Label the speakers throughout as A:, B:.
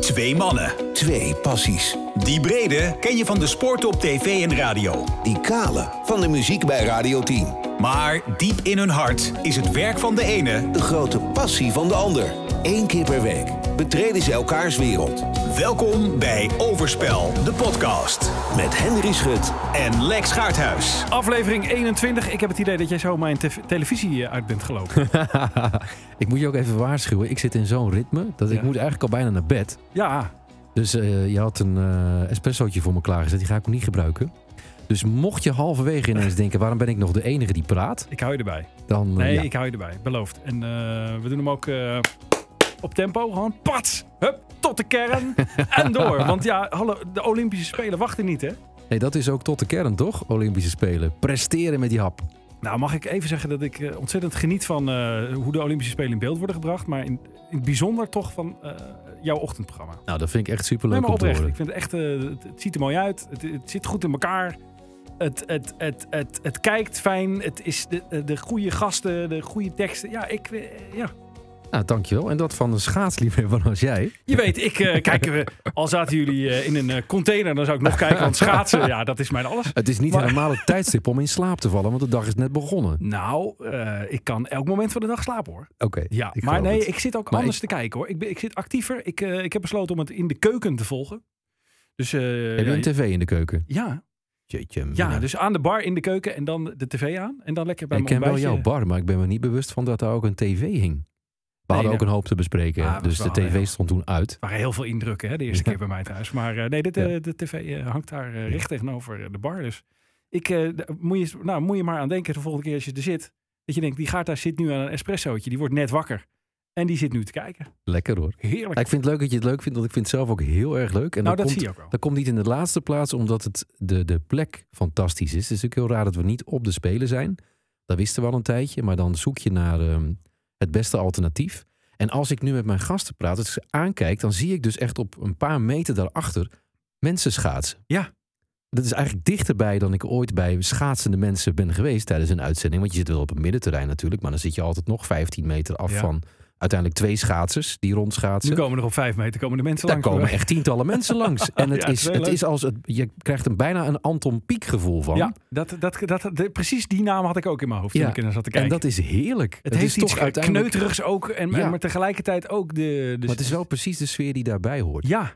A: Twee mannen.
B: Twee passies.
A: Die brede ken je van de sport op tv en radio.
B: Die kale van de muziek bij Radio 10.
A: Maar diep in hun hart is het werk van de ene...
B: De grote passie van de ander. Eén keer per week betreden ze elkaars wereld.
A: Welkom bij Overspel, de podcast.
B: Met Henry Schut.
A: En Lex Gaarthuis.
C: Aflevering 21. Ik heb het idee dat jij zo mijn tev- televisie eh, uit bent gelopen.
D: ik moet je ook even waarschuwen. Ik zit in zo'n ritme dat
C: Ja.
D: ik moet eigenlijk al bijna naar bed.
C: ja,
D: Dus eh, je had een eh espressootje voor me klaargezet. Die ga ik ook niet gebruiken. Dus mocht je halverwege ineens denken, waarom ben ik nog de enige die praat?
C: ik hou je erbij.
D: Dan, eh,
C: Nee,
D: ja.
C: ik hou je erbij. Beloofd. En eh, we doen hem ook eh, op tempo. Gewoon pats. Hup, tot de kern. en door. Want ja, hallo, de Olympische Spelen wachten niet, hè?
D: nee, dat is ook tot de kern, toch? Olympische Spelen. Presteren met die hap.
C: Nou, mag ik even zeggen dat ik eh, ontzettend geniet van eh, hoe de Olympische Spelen in beeld worden gebracht. Maar in, in het bijzonder toch van eh, jouw ochtendprogramma.
D: Nou, dat vind ik echt superleuk
C: Nee, maar
D: om te
C: oprecht.
D: horen.
C: Ik vind het echt, eh, het, het ziet er mooi uit. Het, het zit goed in elkaar. Het, het, het, het, het kijkt fijn. Het is de, eh, de goede gasten, de goede teksten. Ja, ik, eh, ja.
D: Nou, dankjewel. En dat van een schaatsliefhebber als jij.
C: je weet, ik eh kijk, eh, al zaten jullie eh, in een eh, container, dan zou ik nog kijken. Want schaatsen, ja, dat is mijn alles.
D: Het is niet
C: Maar-
D: helemaal het tijdstip om in slaap te vallen, want de dag is net begonnen. Oké,
C: Nou, eh, ik kan elk moment van de dag slapen hoor. Ja,
D: ik
C: maar
D: geloof
C: nee,
D: het.
C: ik zit ook
D: Maar
C: anders te kijken hoor. Ik, ben, ik zit actiever. Ik, eh, ik heb besloten om het in de keuken te volgen. Dus, eh,
D: Heb je een tv in de keuken?
C: ja,
D: Jeetje,
C: Ja,
D: mina.
C: dus aan de bar in de keuken en dan de tv aan. En dan lekker bij
D: ik
C: mijn
D: ken wel
C: ontbijtje.
D: jouw bar, maar ik ben me niet bewust van dat daar ook een tv hing. We hadden ook
C: nou-
D: een hoop te bespreken,
C: Ah, dat
D: dus
C: is
D: de
C: wel, ja.
D: tv stond toen uit.
C: Er waren heel veel indrukken hè, de eerste
D: Ja.
C: keer bij mij thuis. Maar eh, nee, dit,
D: Ja.
C: eh, de tv eh, hangt daar eh, recht tegenover eh, de bar. Dus ik, eh, d- moet, je, eens- nou, moet je maar aan denken de volgende keer als je er zit. Dat je denkt, die gaat daar zit nu aan een espressootje. Die wordt net wakker. En die zit nu te kijken.
D: Lekker hoor.
C: Heerlijk.
D: Ja, ik vind het leuk dat je het leuk vindt, want ik vind het zelf ook heel erg leuk. En
C: nou, dat
D: dat, komt,
C: zie je ook wel.
D: dat komt niet in de laatste plaats, omdat het de, de plek fantastisch is. Het is natuurlijk heel raar dat we niet op de Spelen zijn. Dat wisten we al een tijdje, maar dan zoek je naar ehm, het beste alternatief. En als ik nu met mijn gasten praat, als ik ze aankijk, dan zie ik dus echt op een paar meter daarachter mensen schaatsen.
C: Ja.
D: Dat is eigenlijk dichterbij dan ik ooit bij schaatsende mensen ben geweest tijdens een uitzending. Want je zit wel op een middenterrein natuurlijk, maar dan zit je altijd nog 15 meter af
C: Ja.
D: van uiteindelijk twee schaatsers die rondschaatsen.
C: Nu komen er op vijf meter komen de mensen
D: Daar
C: langs.
D: komen echt tientallen mensen langs. En het,
C: Ja,
D: is,
C: heel
D: het
C: leuk.
D: is als het, je krijgt een bijna een Anton Pieck gevoel van.
C: Ja, dat, dat, dat, de- precies die naam had ik ook in mijn hoofd toen
D: Ja,
C: ik er naar zat te kijken.
D: en dat is heerlijk.
C: het, heeft
D: is
C: iets
D: toch uiteindelijk.
C: kneuters ook. En,
D: Ja.
C: Maar tegelijkertijd ook de... de
D: Maar het is wel precies de sfeer die daarbij hoort.
C: dus Ja,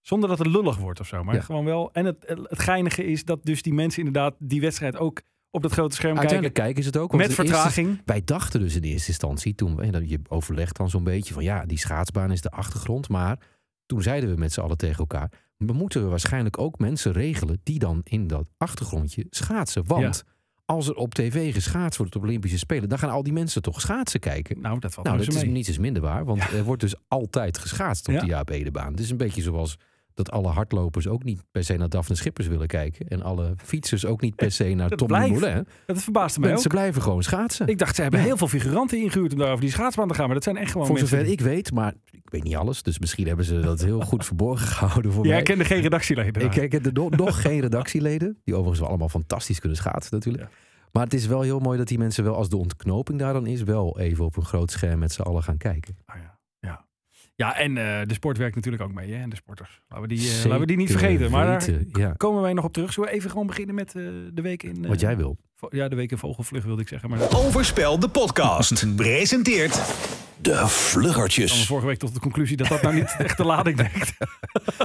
C: zonder dat het lullig wordt of zo. Maar
D: Ja.
C: gewoon wel. En het, het geinige is dat dus die mensen inderdaad die wedstrijd ook op dat grote scherm kijken.
D: Uiteindelijk kijken ze het ook. want
C: Met
D: in eerste-
C: vertraging.
D: wij dachten dus in eerste instantie, toen en dan- je overlegt dan zo'n beetje van ja, die schaatsbaan is de achtergrond. Maar toen zeiden we met z'n allen tegen elkaar, we moeten waarschijnlijk ook mensen regelen die dan in dat achtergrondje schaatsen. Want als er op tv geschaatst wordt op de Olympische Spelen, dan gaan al die mensen toch schaatsen kijken.
C: Nou, dat valt
D: Nou,
C: nou,
D: dat
C: ze
D: is
C: mee.
D: niets is minder waar, want er wordt dus altijd geschaatst op
C: Ja.
D: de Jaap Edebaan. Het is een beetje zoals dat alle hardlopers ook niet per se naar Daphne Schippers willen kijken. En alle fietsers ook niet per se naar
C: Eh, dat
D: Tommy
C: blijft.
D: Moulin.
C: Dat verbaasde mij ook.
D: Mensen blijven gewoon schaatsen.
C: Ik dacht, ze hebben heel veel figuranten ingehuurd om daar over die schaatsbaan te gaan. Maar dat zijn echt gewoon
D: Voor
C: mensen.
D: zover ik weet, maar ik weet niet alles. Dus misschien hebben ze dat heel goed verborgen gehouden voor
C: Jij
D: mij.
C: kende geen redactieleden.
D: Ik ik heb er no- nog geen redactieleden. Die overigens wel allemaal fantastisch kunnen schaatsen natuurlijk. Maar het is wel heel mooi dat die mensen wel, als de ontknoping daar dan is... wel even op een groot scherm met z'n allen gaan kijken.
C: Ah, ja. Ja. ja, en eh, de sport werkt natuurlijk ook mee. Hè? En de sporters. Laten we die, eh,
D: Zeker
C: laten we die niet vergeten. Maar daar
D: weten, ja,
C: komen wij nog op terug. Zullen we even gewoon beginnen met eh, de week in... eh,
D: wat jij wil.
C: vo- Ja, de week in Vogelvlucht wilde ik zeggen. Maar
A: Overspel, de podcast. Presenteert
B: De
C: kwam
B: Vluggertjes.
C: vorige week tot de conclusie dat dat nou niet echt de lading dekt.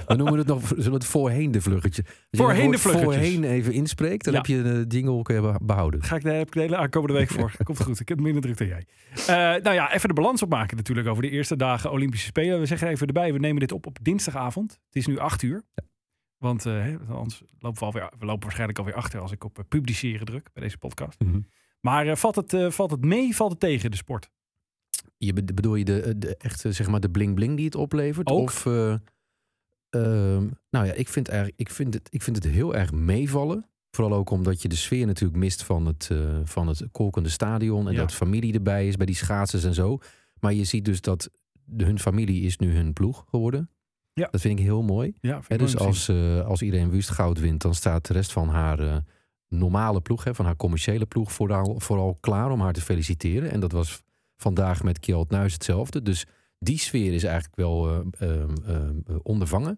D: We noemen het nog zullen we het voorheen de vluggetje. Als je
C: Voorheen
D: het woord
C: de vluggetjes.
D: Voorheen even inspreekt, dan
C: Ja.
D: heb je de dingel kun je beh- behouden.
C: Ga ik de, heb ik de hele aankomende week voor. Komt goed. Ik heb minder druk dan jij. Eh, nou ja, even de balans opmaken natuurlijk over de eerste dagen Olympische Spelen. We zeggen even erbij, we nemen dit op op dinsdagavond. Het is nu acht uur. Want eh, hè, anders lopen we, alweer, we lopen waarschijnlijk alweer achter als ik op eh, publiceren druk bij deze podcast.
D: Mhm.
C: Maar eh, valt, het, eh, valt het mee, valt het tegen de sport?
D: Je bed- bedoel je de, de echt eh, zeg maar de bling bling die het oplevert?
C: Ook.
D: Of eh, ehm, nou ja, ik vind eigenlijk, ik vind het, ik vind het heel erg meevallen. Vooral ook omdat je de sfeer natuurlijk mist van het, eh, van het kolkende stadion en
C: Ja.
D: dat familie erbij is bij die schaatsers en zo. Maar je ziet dus dat de- hun familie is nu hun ploeg geworden.
C: Ja.
D: Dat vind ik heel mooi.
C: Ja,
D: Hè, dus als, eh als iedereen Wust goud wint, dan staat de rest van haar eh, normale ploeg, hè, van haar commerciële ploeg, vooral, vooral klaar om haar te feliciteren. En dat was vandaag met Kjeld Nuis hetzelfde. Dus die sfeer is eigenlijk wel eh, ehm, ehm, eh, ondervangen.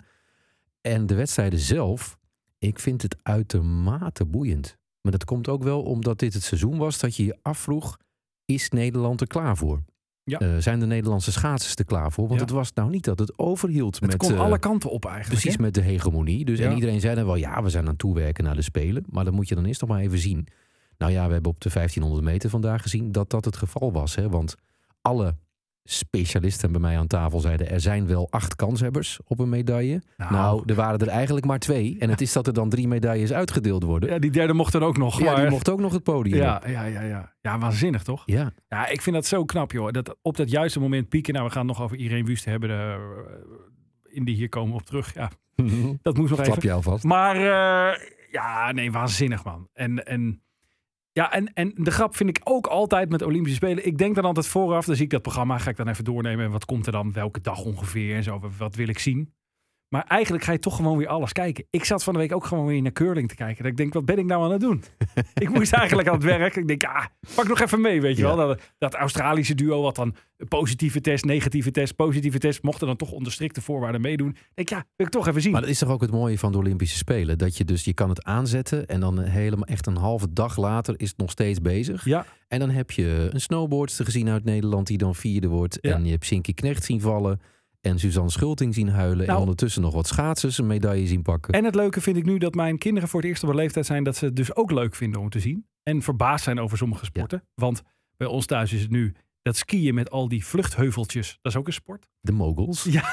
D: En de wedstrijden zelf, ik vind het uitermate boeiend. Maar dat komt ook wel omdat dit het seizoen was dat je je afvroeg, is Nederland er klaar voor?
C: Ja.
D: Eh, zijn de Nederlandse schaatsers er klaar voor? Want
C: Ja.
D: het was nou niet dat het overhield
C: Het
D: met...
C: komt
D: eh,
C: alle kanten op eigenlijk.
D: Precies
C: hè?
D: met de hegemonie. Dus,
C: Ja.
D: En iedereen zei dan wel, ja, we zijn aan het toewerken naar de Spelen. Maar dat moet je dan eerst nog maar even zien. Nou ja, we hebben op de 1500 meter vandaag gezien dat dat het geval was. Hè? Want alle specialisten bij mij aan tafel zeiden... er zijn wel acht kanshebbers op een medaille. Nou, er waren er eigenlijk maar twee. En het is dat er dan drie medailles uitgedeeld worden. Ja,
C: ja, die derde mocht dan ook nog. maar,
D: die mocht ook nog het podium op.
C: ja, ja, ja, ja. ja, waanzinnig toch?
D: Ja,
C: Ja, ik vind dat zo knap, joh. Dat op dat juiste moment pieken. Nou, we gaan het nog over Irene Wust hebben. eh, in die hier komen we op terug. Ja, dat moest nog even.
D: klap je alvast.
C: Maar eh, ja, nee, waanzinnig man. En, en, ja, en, en de grap vind ik ook altijd met Olympische Spelen. Ik denk dan altijd vooraf, dan zie ik dat programma, ga ik dan even doornemen. En wat komt er dan, welke dag ongeveer en zo, wat wil ik zien. Maar eigenlijk ga je toch gewoon weer alles kijken. Ik zat van de week ook gewoon weer naar curling te kijken. Dat ik denk, wat ben ik nou aan het doen? ik moest eigenlijk aan het werk. Ik denk, ja, pak nog even mee, weet je
D: Ja.
C: wel. Dat, dat Australische duo, wat dan positieve test, negatieve test, positieve test, mochten dan toch onder strikte voorwaarden meedoen. Ik denk, ja, wil ik toch even zien.
D: Maar dat is toch ook het mooie van de Olympische Spelen? Dat je dus, je kan het aanzetten en dan helemaal echt een halve dag later is het nog steeds bezig.
C: ja.
D: En dan heb je een snowboardster gezien uit Nederland die dan vierde wordt.
C: Ja.
D: En je hebt Sinky Knecht zien vallen. En Suzanne Schulting zien huilen.
C: Nou.
D: En ondertussen nog wat schaatsers een medaille zien pakken.
C: En het leuke vind ik nu dat mijn kinderen voor het eerst op een leeftijd zijn dat ze het dus ook leuk vinden om te zien. En verbaasd zijn over sommige sporten. Want bij ons thuis is het nu dat skiën met al die vluchtheuveltjes. Dat is ook een sport.
D: De moguls.
C: Ja.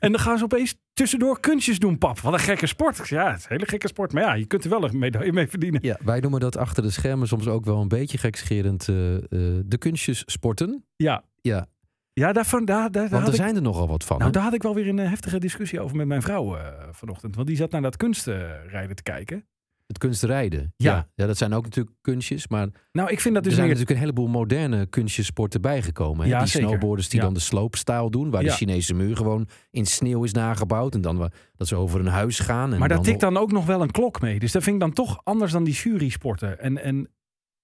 C: en dan gaan ze opeens tussendoor kunstjes doen, pap. Wat een gekke sport. Ik zeg, Ja, het is een hele gekke sport. Maar ja, je kunt er wel een medaille mee verdienen.
D: Ja, wij noemen dat achter de schermen soms ook wel een beetje gekscherend eh, eh, de kunstjes sporten.
C: Ja.
D: Ja.
C: Ja, daarvan, daar, daar, daar
D: Want
C: had
D: er
C: ik-
D: zijn er nogal wat van.
C: Nou,
D: hè?
C: daar had ik wel weer een eh, heftige discussie over met mijn vrouw eh, vanochtend. Want die zat naar dat kunstrijden te kijken.
D: Het kunstrijden.
C: Ja.
D: Ja. ja, dat zijn ook natuurlijk kunstjes. Maar
C: Nou, ik vind dat
D: er
C: dus
D: zijn
C: meer...
D: natuurlijk een heleboel moderne kunstjesporten bijgekomen. hè?
C: Ja,
D: die
C: zeker.
D: snowboarders die
C: Ja.
D: dan de sloopstijl doen. Waar
C: Ja.
D: de Chinese muur gewoon in sneeuw is nagebouwd. En dan wa- dat ze over een huis gaan. En
C: Maar daar
D: dan
C: tikt dan ook nog wel een klok mee. Dus dat vind ik dan toch anders dan die jury-sporten. En, en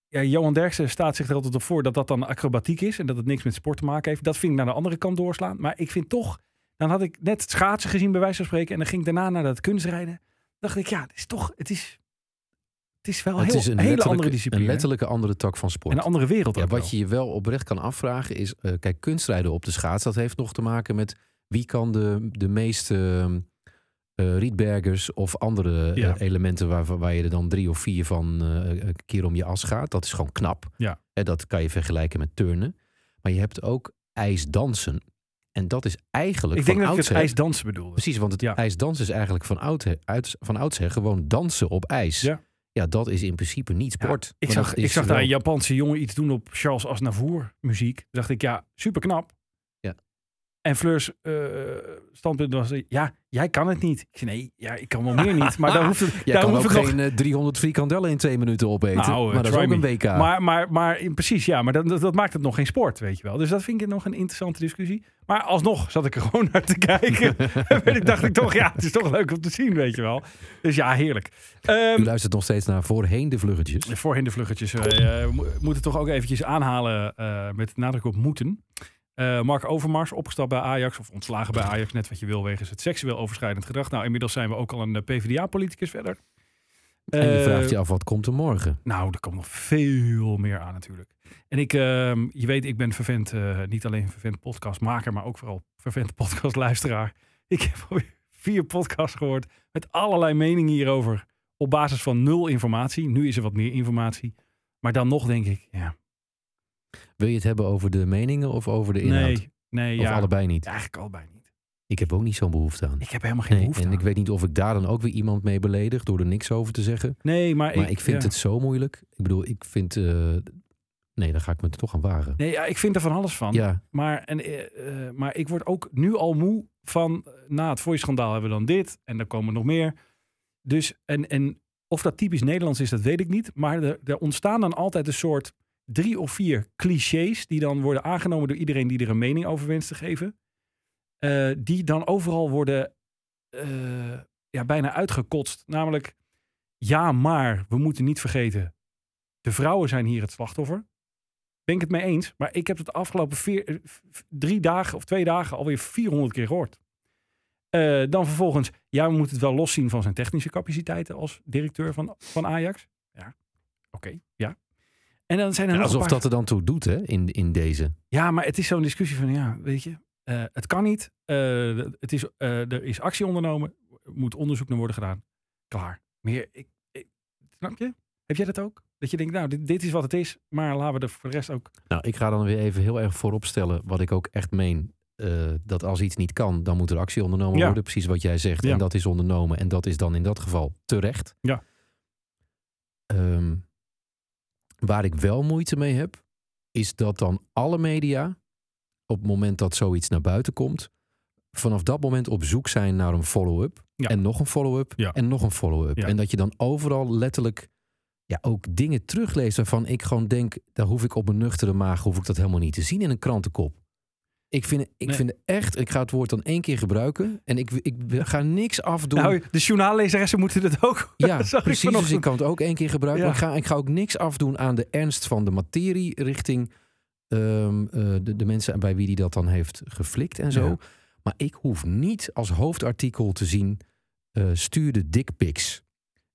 C: ja, Johan Derksen staat zich er altijd op voor dat dat dan acrobatiek is. En dat het niks met sport te maken heeft. Dat vind ik naar de andere kant doorslaan. Maar ik vind toch, dan had ik net schaatsen gezien bij wijze van spreken. En dan ging ik daarna naar dat kunstrijden. dacht ik, ja, het is toch, het is, het is wel
D: Het
C: heel,
D: is een
C: hele
D: letterlijke-
C: andere discipline.
D: Een
C: hè?
D: letterlijke andere tak van sport.
C: en een andere wereld.
D: ja,
C: ook
D: wat
C: wel.
D: je je wel oprecht kan afvragen is... eh, kijk, kunstrijden op de schaats, dat heeft nog te maken met... wie kan de, de meeste eh, rietbergers of andere eh,
C: Ja.
D: elementen... Waar, waar je er dan drie of vier van eh, een keer om je as gaat. Dat is gewoon knap.
C: Ja.
D: Hè, dat kan je vergelijken met turnen. Maar je hebt ook ijsdansen. En dat is eigenlijk
C: ik denk
D: van
C: dat ik het
D: oudsher...
C: ijsdansen bedoelde.
D: Precies, want het
C: Ja.
D: ijsdansen is eigenlijk van, oudsher, uit, van oudsher gewoon dansen op ijs.
C: Ja.
D: Ja, dat is in principe niet
C: Ja,
D: sport.
C: ik
D: Maar
C: zag,
D: dat
C: ik
D: is
C: zag
D: wel-
C: daar een Japanse jongen iets doen op Charles Aznavour muziek. Toen dacht ik, ja, super knap.
D: Ja.
C: En Fleurs eh, standpunt was, ja, jij kan het niet. Ik zei, nee, ja, ik kan wel meer niet. Maar daar hoeft het,
D: Jij
C: daar
D: kan
C: hoeft
D: ook
C: het nog...
D: geen eh, 300 frikandellen in twee minuten opeten.
C: Nou, eh,
D: maar dat is
C: try
D: ook
C: me.
D: een WK.
C: Maar, maar, maar in- precies, ja, maar dat, dat, dat maakt het nog geen sport, weet je wel. Dus dat vind ik nog een interessante discussie. Maar alsnog zat ik er gewoon naar te kijken. en ik dacht ik toch, ja, het is toch leuk om te zien, weet je wel. Dus ja, heerlijk. Ehm,
D: U luistert nog steeds naar voorheen de vluggetjes.
C: Voorheen de vluggetjes. Eh, We moeten toch ook eventjes aanhalen eh, met nadruk op moeten. Eh, Mark Overmars, opgestapt bij Ajax of ontslagen bij Ajax, net wat je wil, wegens het seksueel overschrijdend gedrag. Nou, inmiddels zijn we ook al een eh, PvdA-politicus verder.
D: en je
C: Eh,
D: vraagt je af, wat komt er morgen?
C: nou, er komt nog veel meer aan natuurlijk. En ik, ehm, je weet, ik ben vervent, eh, niet alleen vervent podcastmaker, maar ook vooral vervent podcastluisteraar. Ik heb alweer vier podcasts gehoord met allerlei meningen hierover. Op basis van nul informatie. Nu is er wat meer informatie. Maar dan nog denk ik, ja.
D: Wil je het hebben over de meningen of over de inhoud?
C: Nee, nee,
D: of
C: ja.
D: allebei niet?
C: Eigenlijk allebei niet.
D: Ik heb ook niet zo'n behoefte aan.
C: Ik heb helemaal geen
D: Nee,
C: behoefte
D: en ik
C: aan.
D: weet niet of ik daar dan ook weer iemand mee beledig door er niks over te zeggen.
C: Nee, maar,
D: Maar ik vind
C: ja.
D: het zo moeilijk. Ik bedoel, ik vind... eh, nee, daar ga ik me toch aan wagen.
C: Nee, ja, ik vind er van alles van.
D: Ja,
C: Maar, en, eh, eh, maar ik word ook nu al moe van, eh, na het voice-schandaal hebben we dan dit en dan komen nog meer. Dus, en, en of dat typisch Nederlands is, dat weet ik niet. Maar er, er ontstaan dan altijd een soort drie of vier clichés die dan worden aangenomen door iedereen die er een mening over wenst te geven. eh, die dan overal worden eh, ja, bijna uitgekotst. Namelijk, ja maar, we moeten niet vergeten, de vrouwen zijn hier het slachtoffer. Ben ik het mee eens. Maar ik heb het de afgelopen vier, eh, v- v- drie dagen of twee dagen alweer 400 keer gehoord. Eh, dan vervolgens, ja, we moeten het wel loszien van zijn technische capaciteiten als directeur van, van Ajax. Ja, oké, ja. En dan zijn er
D: Ja,
C: nog een
D: alsof
C: paar-
D: dat er dan toe doet, hè, in, in deze.
C: ja, maar het is zo'n discussie van, ja, weet je, eh, het kan niet. Eh, het is, eh, er is actie ondernomen, er moet onderzoek naar worden gedaan. Klaar. Meer, ik, ik- snap je? Heb jij dat ook? Dat je denkt, nou, dit, dit is wat het is, maar laten we er voor de rest ook...
D: Nou, ik ga dan weer even heel erg voorop stellen wat ik ook echt meen. eh, dat als iets niet kan, dan moet er actie ondernomen
C: Ja.
D: worden. Precies wat jij zegt.
C: Ja.
D: En dat is ondernomen. En dat is dan in dat geval terecht.
C: Ja.
D: Ehm, waar ik wel moeite mee heb, is dat dan alle media, op het moment dat zoiets naar buiten komt, vanaf dat moment op zoek zijn naar een follow-up.
C: Ja.
D: En nog een follow-up.
C: Ja.
D: En nog een follow-up.
C: Ja.
D: En dat je dan overal letterlijk ja, ook dingen terugleest waarvan ik gewoon denk, daar hoef ik op mijn nuchtere maag hoef ik dat helemaal niet te zien in een krantenkop. Ik vind, ik
C: Nee.
D: vind echt, ik ga het woord dan één keer gebruiken en ik, ik ga niks afdoen.
C: Nou, de journaallezeressen moeten dat ook.
D: ja,
C: zag ik
D: precies. Dus ik
C: vanochtend.
D: kan het ook één keer gebruiken.
C: Ja.
D: Maar ik ga, ik ga ook niks afdoen aan de ernst van de materie richting ehm, eh, de, de mensen bij wie die dat dan heeft geflikt en zo.
C: Ja.
D: Maar ik hoef niet als hoofdartikel te zien eh stuurde dickpics.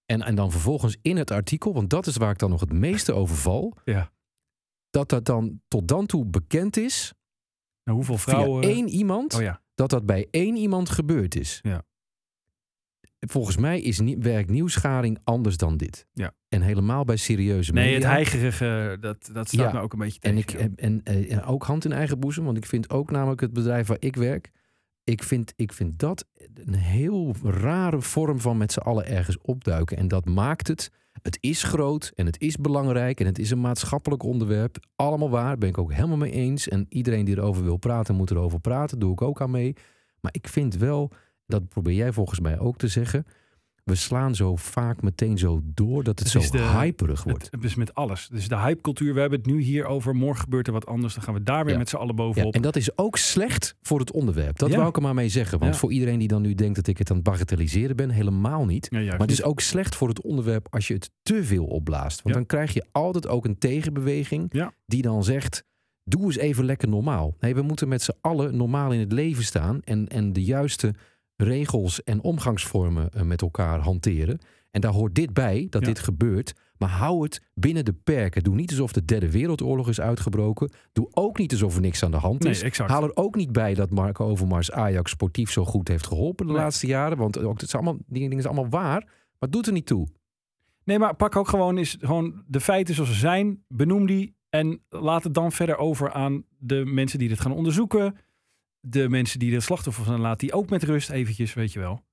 D: En, en dan vervolgens in het artikel, want dat is waar ik dan nog het meeste over val.
C: Ja.
D: Dat dat dan tot dan toe bekend is
C: Nou, hoeveel vrouwen...
D: via één iemand
C: Oh ja,
D: dat dat bij één iemand gebeurd is.
C: Ja.
D: Volgens mij is nie- werkt nieuwsgaring anders dan dit.
C: Ja.
D: En helemaal bij serieuze
C: nee, het
D: media.
C: heigerige, dat, dat staat
D: Ja.
C: me ook een beetje tegen.
D: en, ik,
C: ja.
D: en, en, eh, en ook hand in eigen boezem, want ik vind ook namelijk het bedrijf waar ik werk. Ik vind, ik vind dat een heel rare vorm van met z'n allen ergens opduiken. En dat maakt het. Het is groot en het is belangrijk en het is een maatschappelijk onderwerp. Allemaal waar, ben ik ook helemaal mee eens. En iedereen die erover wil praten, moet erover praten. Doe ik ook aan mee. Maar ik vind wel, dat probeer jij volgens mij ook te zeggen. We slaan zo vaak meteen zo door dat het,
C: Het is
D: zo
C: de-
D: hyperig wordt.
C: Het, dus met alles. Dus de hypecultuur, we hebben het nu hier over. Morgen gebeurt er wat anders. Dan gaan we daar weer
D: Ja.
C: met z'n allen
D: Ja,
C: bovenop.
D: en dat is ook slecht voor het onderwerp. Dat
C: Ja.
D: wou ik er maar mee zeggen. Want
C: Ja.
D: voor iedereen die dan nu denkt dat ik het aan het bagatelliseren ben, helemaal niet.
C: Ja, juist.
D: Maar het is ook slecht voor het onderwerp als je het te veel opblaast. Want
C: Ja.
D: dan krijg je altijd ook een tegenbeweging
C: Ja.
D: die dan zegt... Doe eens even lekker normaal. Nee, we moeten met z'n allen normaal in het leven staan... en, en de juiste regels en omgangsvormen eh, met elkaar hanteren. En daar hoort dit bij, dat
C: Ja.
D: dit gebeurt. Maar hou het binnen de perken. Doe niet alsof de derde wereldoorlog is uitgebroken. Doe ook niet alsof er niks aan de hand
C: Nee,
D: is.
C: exact.
D: Haal er ook niet bij dat Marco Overmars Ajax sportief zo goed heeft geholpen de
C: Nee.
D: laatste jaren. Want ook, het is allemaal, die dingen zijn allemaal waar. Maar het doet er niet toe.
C: Nee, maar pak ook gewoon, is gewoon de feiten zoals ze zijn. Benoem die en laat het dan verder over aan de mensen die dit gaan onderzoeken. De mensen die er slachtoffer van zijn, laat die ook met rust eventjes, weet je wel.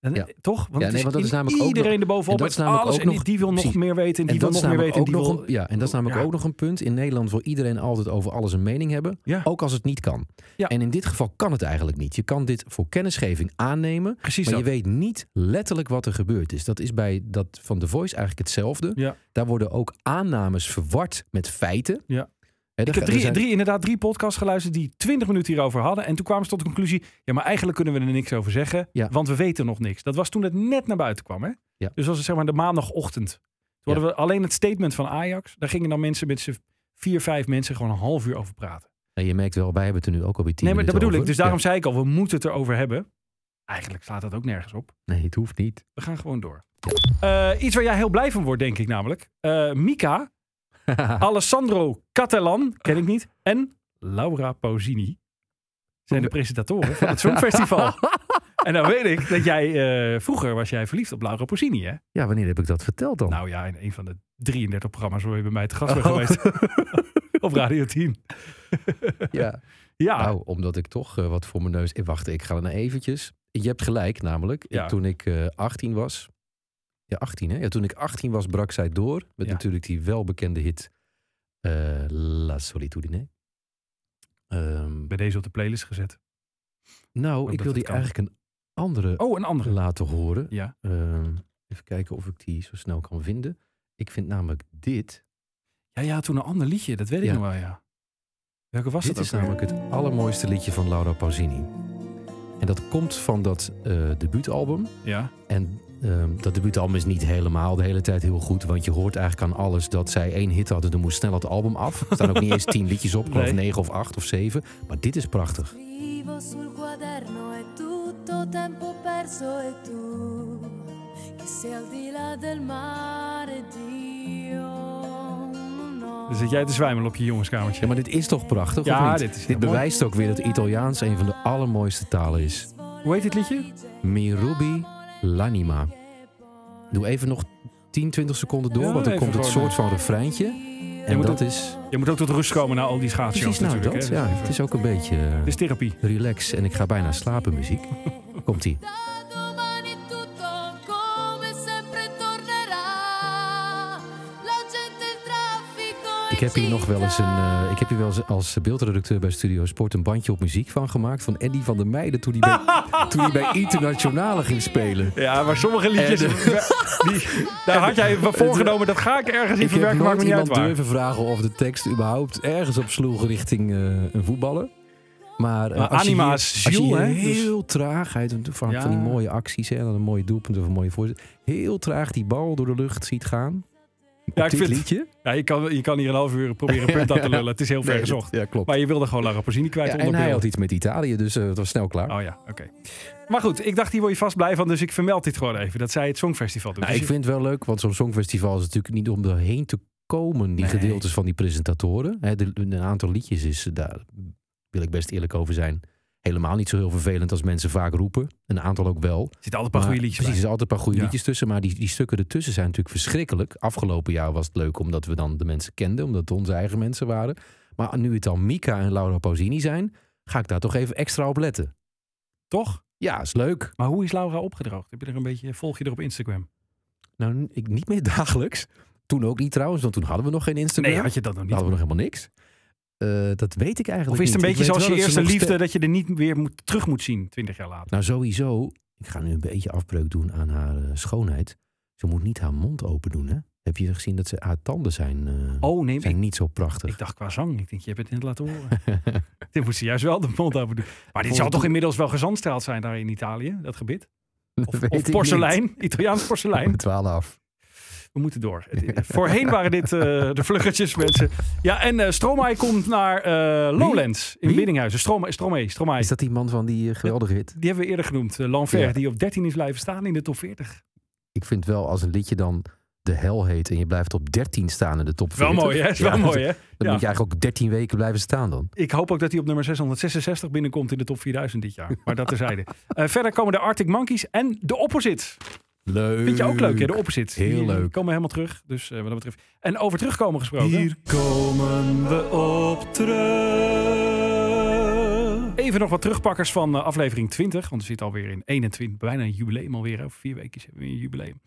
C: En, eh,
D: Ja.
C: Toch? Want, het
D: nee, want dat
C: in
D: is namelijk ook
C: iedereen erbovenop.
D: en dat is
C: met
D: namelijk
C: alles.
D: ook
C: en die-
D: nog-
C: die wil nog
D: precies.
C: meer weten. En die wil nog meer
D: namelijk
C: weten. En die
D: ook nog
C: wil,
D: een, ja, en dat is namelijk
C: Ja.
D: ook nog een punt. In Nederland wil iedereen altijd over alles een mening hebben.
C: Ja.
D: Ook als het niet kan.
C: Ja.
D: En in dit geval kan het eigenlijk niet. Je kan dit voor kennisgeving aannemen.
C: precies
D: Maar
C: dat.
D: je weet niet letterlijk wat er gebeurd is. Dat is bij dat van The Voice eigenlijk hetzelfde.
C: Ja.
D: Daar worden ook aannames verward met feiten.
C: Ja.
D: Hè, daar
C: Ik
D: ga-
C: heb
D: er
C: drie,
D: zijn-
C: drie, inderdaad drie podcasts geluisterd die 20 minuten hierover hadden. En toen kwamen ze tot de conclusie: ja, maar eigenlijk kunnen we er niks over zeggen.
D: Ja.
C: Want we weten nog niks. Dat was toen het net naar buiten kwam. Hè?
D: Ja.
C: Dus als het zeg maar de maandagochtend. Toen
D: Ja.
C: hadden we alleen het statement van Ajax. Daar gingen dan mensen met z'n vier, vijf mensen gewoon een half uur over praten.
D: Nou, je merkt wel, wij hebben het er nu ook al bij tien
C: nee, maar dat bedoel
D: minuten
C: ik.
D: over.
C: Dus daarom zei ik al: we moeten het erover hebben. Eigenlijk slaat dat ook nergens op.
D: Ja. Nee, het hoeft niet.
C: We gaan gewoon door. Eh, iets waar jij heel blij van wordt, denk ik namelijk. Eh, Mika, Alessandro Catalan, ken ik niet. En Laura Pausini zijn de presentatoren van het Songfestival. en dan weet ik dat jij... eh, vroeger was jij verliefd op Laura Pausini, hè?
D: ja, wanneer heb ik dat verteld dan?
C: Nou ja, in een van de 33 programma's waar je bij mij te gast bent
D: Oh.
C: geweest. op Radio 10.
D: ja.
C: Ja,
D: Nou, omdat ik toch eh, wat voor mijn neus... Eh, Wacht, ik ga er nou eventjes. Je hebt gelijk, namelijk. Ik-
C: Ja.
D: toen ik eh 18 was... Ja, 18 hè? Ja, toen ik 18 was, brak zij door. Met
C: Ja.
D: natuurlijk die welbekende hit eh La Solitudine. Ehm,
C: bij deze op de playlist gezet.
D: nou,
C: oh, dat
D: ik wil
C: het
D: die
C: kan.
D: eigenlijk een andere
C: Oh, een andere.
D: laten horen.
C: Ja.
D: Ehm, even kijken of ik die zo snel kan vinden. Ik vind namelijk dit.
C: Ja, ja, toen een ander liedje. Dat weet ik
D: Ja.
C: nog wel, ja. Welke was
D: dit
C: dat
D: is
C: ook? weer?
D: namelijk het allermooiste liedje van Laura Pausini. En dat komt van dat eh, debuutalbum.
C: Ja,
D: En ehm, dat debuutalbum is niet helemaal de hele tijd heel goed. Want je hoort eigenlijk aan alles dat zij één hit hadden. Dan moest snel het album af. Er staan ook niet eens tien liedjes op. Ik geloof
C: Nee.
D: negen of acht of zeven. Maar dit is prachtig.
E: Scrivo sul quaderno è tutto tempo perso e tu che sei al di là del mare Dio no.
C: dan zit jij te zwijmelen op je jongenskamertje.
D: Ja, maar dit is toch prachtig? of
C: Ja,
D: niet?
C: dit is heel mooi.
D: bewijst ook weer dat Italiaans een van de allermooiste talen is.
C: Hoe heet dit liedje?
D: Mi rubi l'anima. Doe even nog 10, 20 seconden door.
C: Ja,
D: want dan
C: even
D: komt het
C: gewoon, eh,
D: soort van refreintje. En
C: moet
D: dat is
C: Je moet ook tot rust komen na al die schaatsshows
D: precies nou
C: natuurlijk.
D: dat.
C: hè. dus
D: Ja, het is ook een beetje eh,
C: Het is therapie.
D: relax en ik ga bijna slapen muziek. Komt-ie.
E: Da domani tutto come sempre tornerà la gente il traffico
D: Ik heb hier nog wel eens een. eh, ik heb hier wel eens als beeldredacteur bij Studio Sport een bandje op muziek van gemaakt. Van Eddie van der Meijden toen hij bij, toen hij bij Internationale ging spelen.
C: Ja, maar sommige liedjes...
D: En,
C: die, daar had jij van voorgenomen, dat ga ik ergens in
D: Ik heb
C: verwerken, maakt
D: nooit
C: me niet uit
D: iemand
C: waar.
D: durven vragen of de tekst überhaupt ergens op sloeg richting eh, een voetballer. Maar eh,
C: Maar
D: als je
C: anima
D: hier-
C: is
D: als je
C: ziel,
D: hier
C: hè? Dus-
D: heel traag, hij doet vaak
C: Ja.
D: van die mooie acties en dan een mooie doelpunt of een mooie voorzet. Heel traag die bal door de lucht ziet gaan.
C: Ja,
D: op
C: ik
D: dit
C: vind-
D: liedje.
C: Ja, je, kan, je kan hier een half uur proberen punt aan te lullen. Het is heel ver
D: Nee,
C: gezocht.
D: dat- Ja, klopt.
C: Maar je wilde gewoon Lara Pozzini kwijt
D: Ja, en
C: onder
D: hij
C: beeld.
D: had iets met Italië, dus eh, het was snel klaar.
C: Oh ja, oké. Maar goed, ik dacht hier word je vast blij van, dus ik vermeld dit gewoon even. Dat zij het Songfestival doet.
D: Nou,
C: Dus
D: ik vind het wel leuk, want zo'n songfestival is natuurlijk niet om erheen te komen, die
C: Nee.
D: gedeeltes van die presentatoren. Hè, de- een aantal liedjes is, eh, daar wil ik best eerlijk over zijn, helemaal niet zo heel vervelend als mensen vaak roepen. Een aantal ook wel.
C: er zitten altijd een paar
D: Maar
C: goede liedjes
D: Precies,
C: bij.
D: er zijn altijd een paar goede
C: Ja.
D: liedjes tussen, maar die, die stukken ertussen zijn natuurlijk verschrikkelijk. Afgelopen jaar was het leuk omdat we dan de mensen kenden, omdat het onze eigen mensen waren. Maar nu het dan Mika en Laura Pausini zijn, ga ik daar toch even extra op letten.
C: Toch?
D: Ja, is leuk.
C: Maar hoe is Laura opgedroogd? Heb je er een beetje, volg je er op Instagram?
D: Nou, n- ik, niet meer dagelijks. Toen ook niet trouwens, want toen hadden we nog geen Instagram.
C: Nee, had je dat nog
D: Toen
C: niet?
D: hadden we nog helemaal niks. Eh, dat weet ik
C: Of
D: eigenlijk
C: is het een
D: niet.
C: beetje
D: Ik weet
C: zoals je
D: wel dat ze
C: eerste
D: nog
C: liefde,
D: ste-
C: dat je er niet weer moet, terug moet zien, twintig jaar later?
D: Nou, sowieso. Ik ga nu een beetje afbreuk doen aan haar eh, schoonheid. Ze moet niet haar mond open doen, hè? Heb je gezien dat ze, haar tanden zijn, eh,
C: Oh nee,
D: zijn
C: ik,
D: niet zo prachtig?
C: ik dacht qua zang. Ik denk, je hebt het net laten horen. Dit moet ze juist wel de mond open doen. Maar dit zal
D: Volgens-
C: toch inmiddels wel gezandstraald zijn daar in Italië, dat gebied?
D: Dat weet ik
C: Of
D: niet.
C: porselein, Italiaans porselein.
D: We dwalen af.
C: We moeten door. Het- Voorheen waren dit eh, de vluggetjes, mensen. Ja, en eh Stromae komt naar eh, Lowlands in
D: Wie?
C: Biddinghuizen. Stromae, Stromae, Stromae.
D: Is dat die man van die eh, geweldige hit?
C: Die hebben we eerder genoemd. eh, Lanver,
D: Ja.
C: die op 13 is blijven staan in de top 40.
D: Ik vind wel, als een liedje dan de hel heet en je blijft op 13 staan in de top 40.
C: Wel mooi, hè? Is
D: Ja,
C: wel mooi, hè?
D: Dan
C: Ja.
D: moet je eigenlijk ook 13 weken blijven staan dan.
C: Ik hoop ook dat hij op nummer 666 binnenkomt in de top 4000 dit jaar. Maar dat terzijde. Eh verder komen de Arctic Monkeys en de Opposite.
D: Leuk.
C: Vind je ook leuk, hè? De Opposite.
D: Heel
C: Die eh,
D: leuk.
C: komen helemaal terug. Dus eh, wat dat betreft. En over terugkomen gesproken.
D: komen we op terug.
C: Even nog wat terugpakkers van eh, aflevering 20. Want we zitten alweer in 21. Bijna een jubileum alweer. Over vier weken hebben we een jubileum.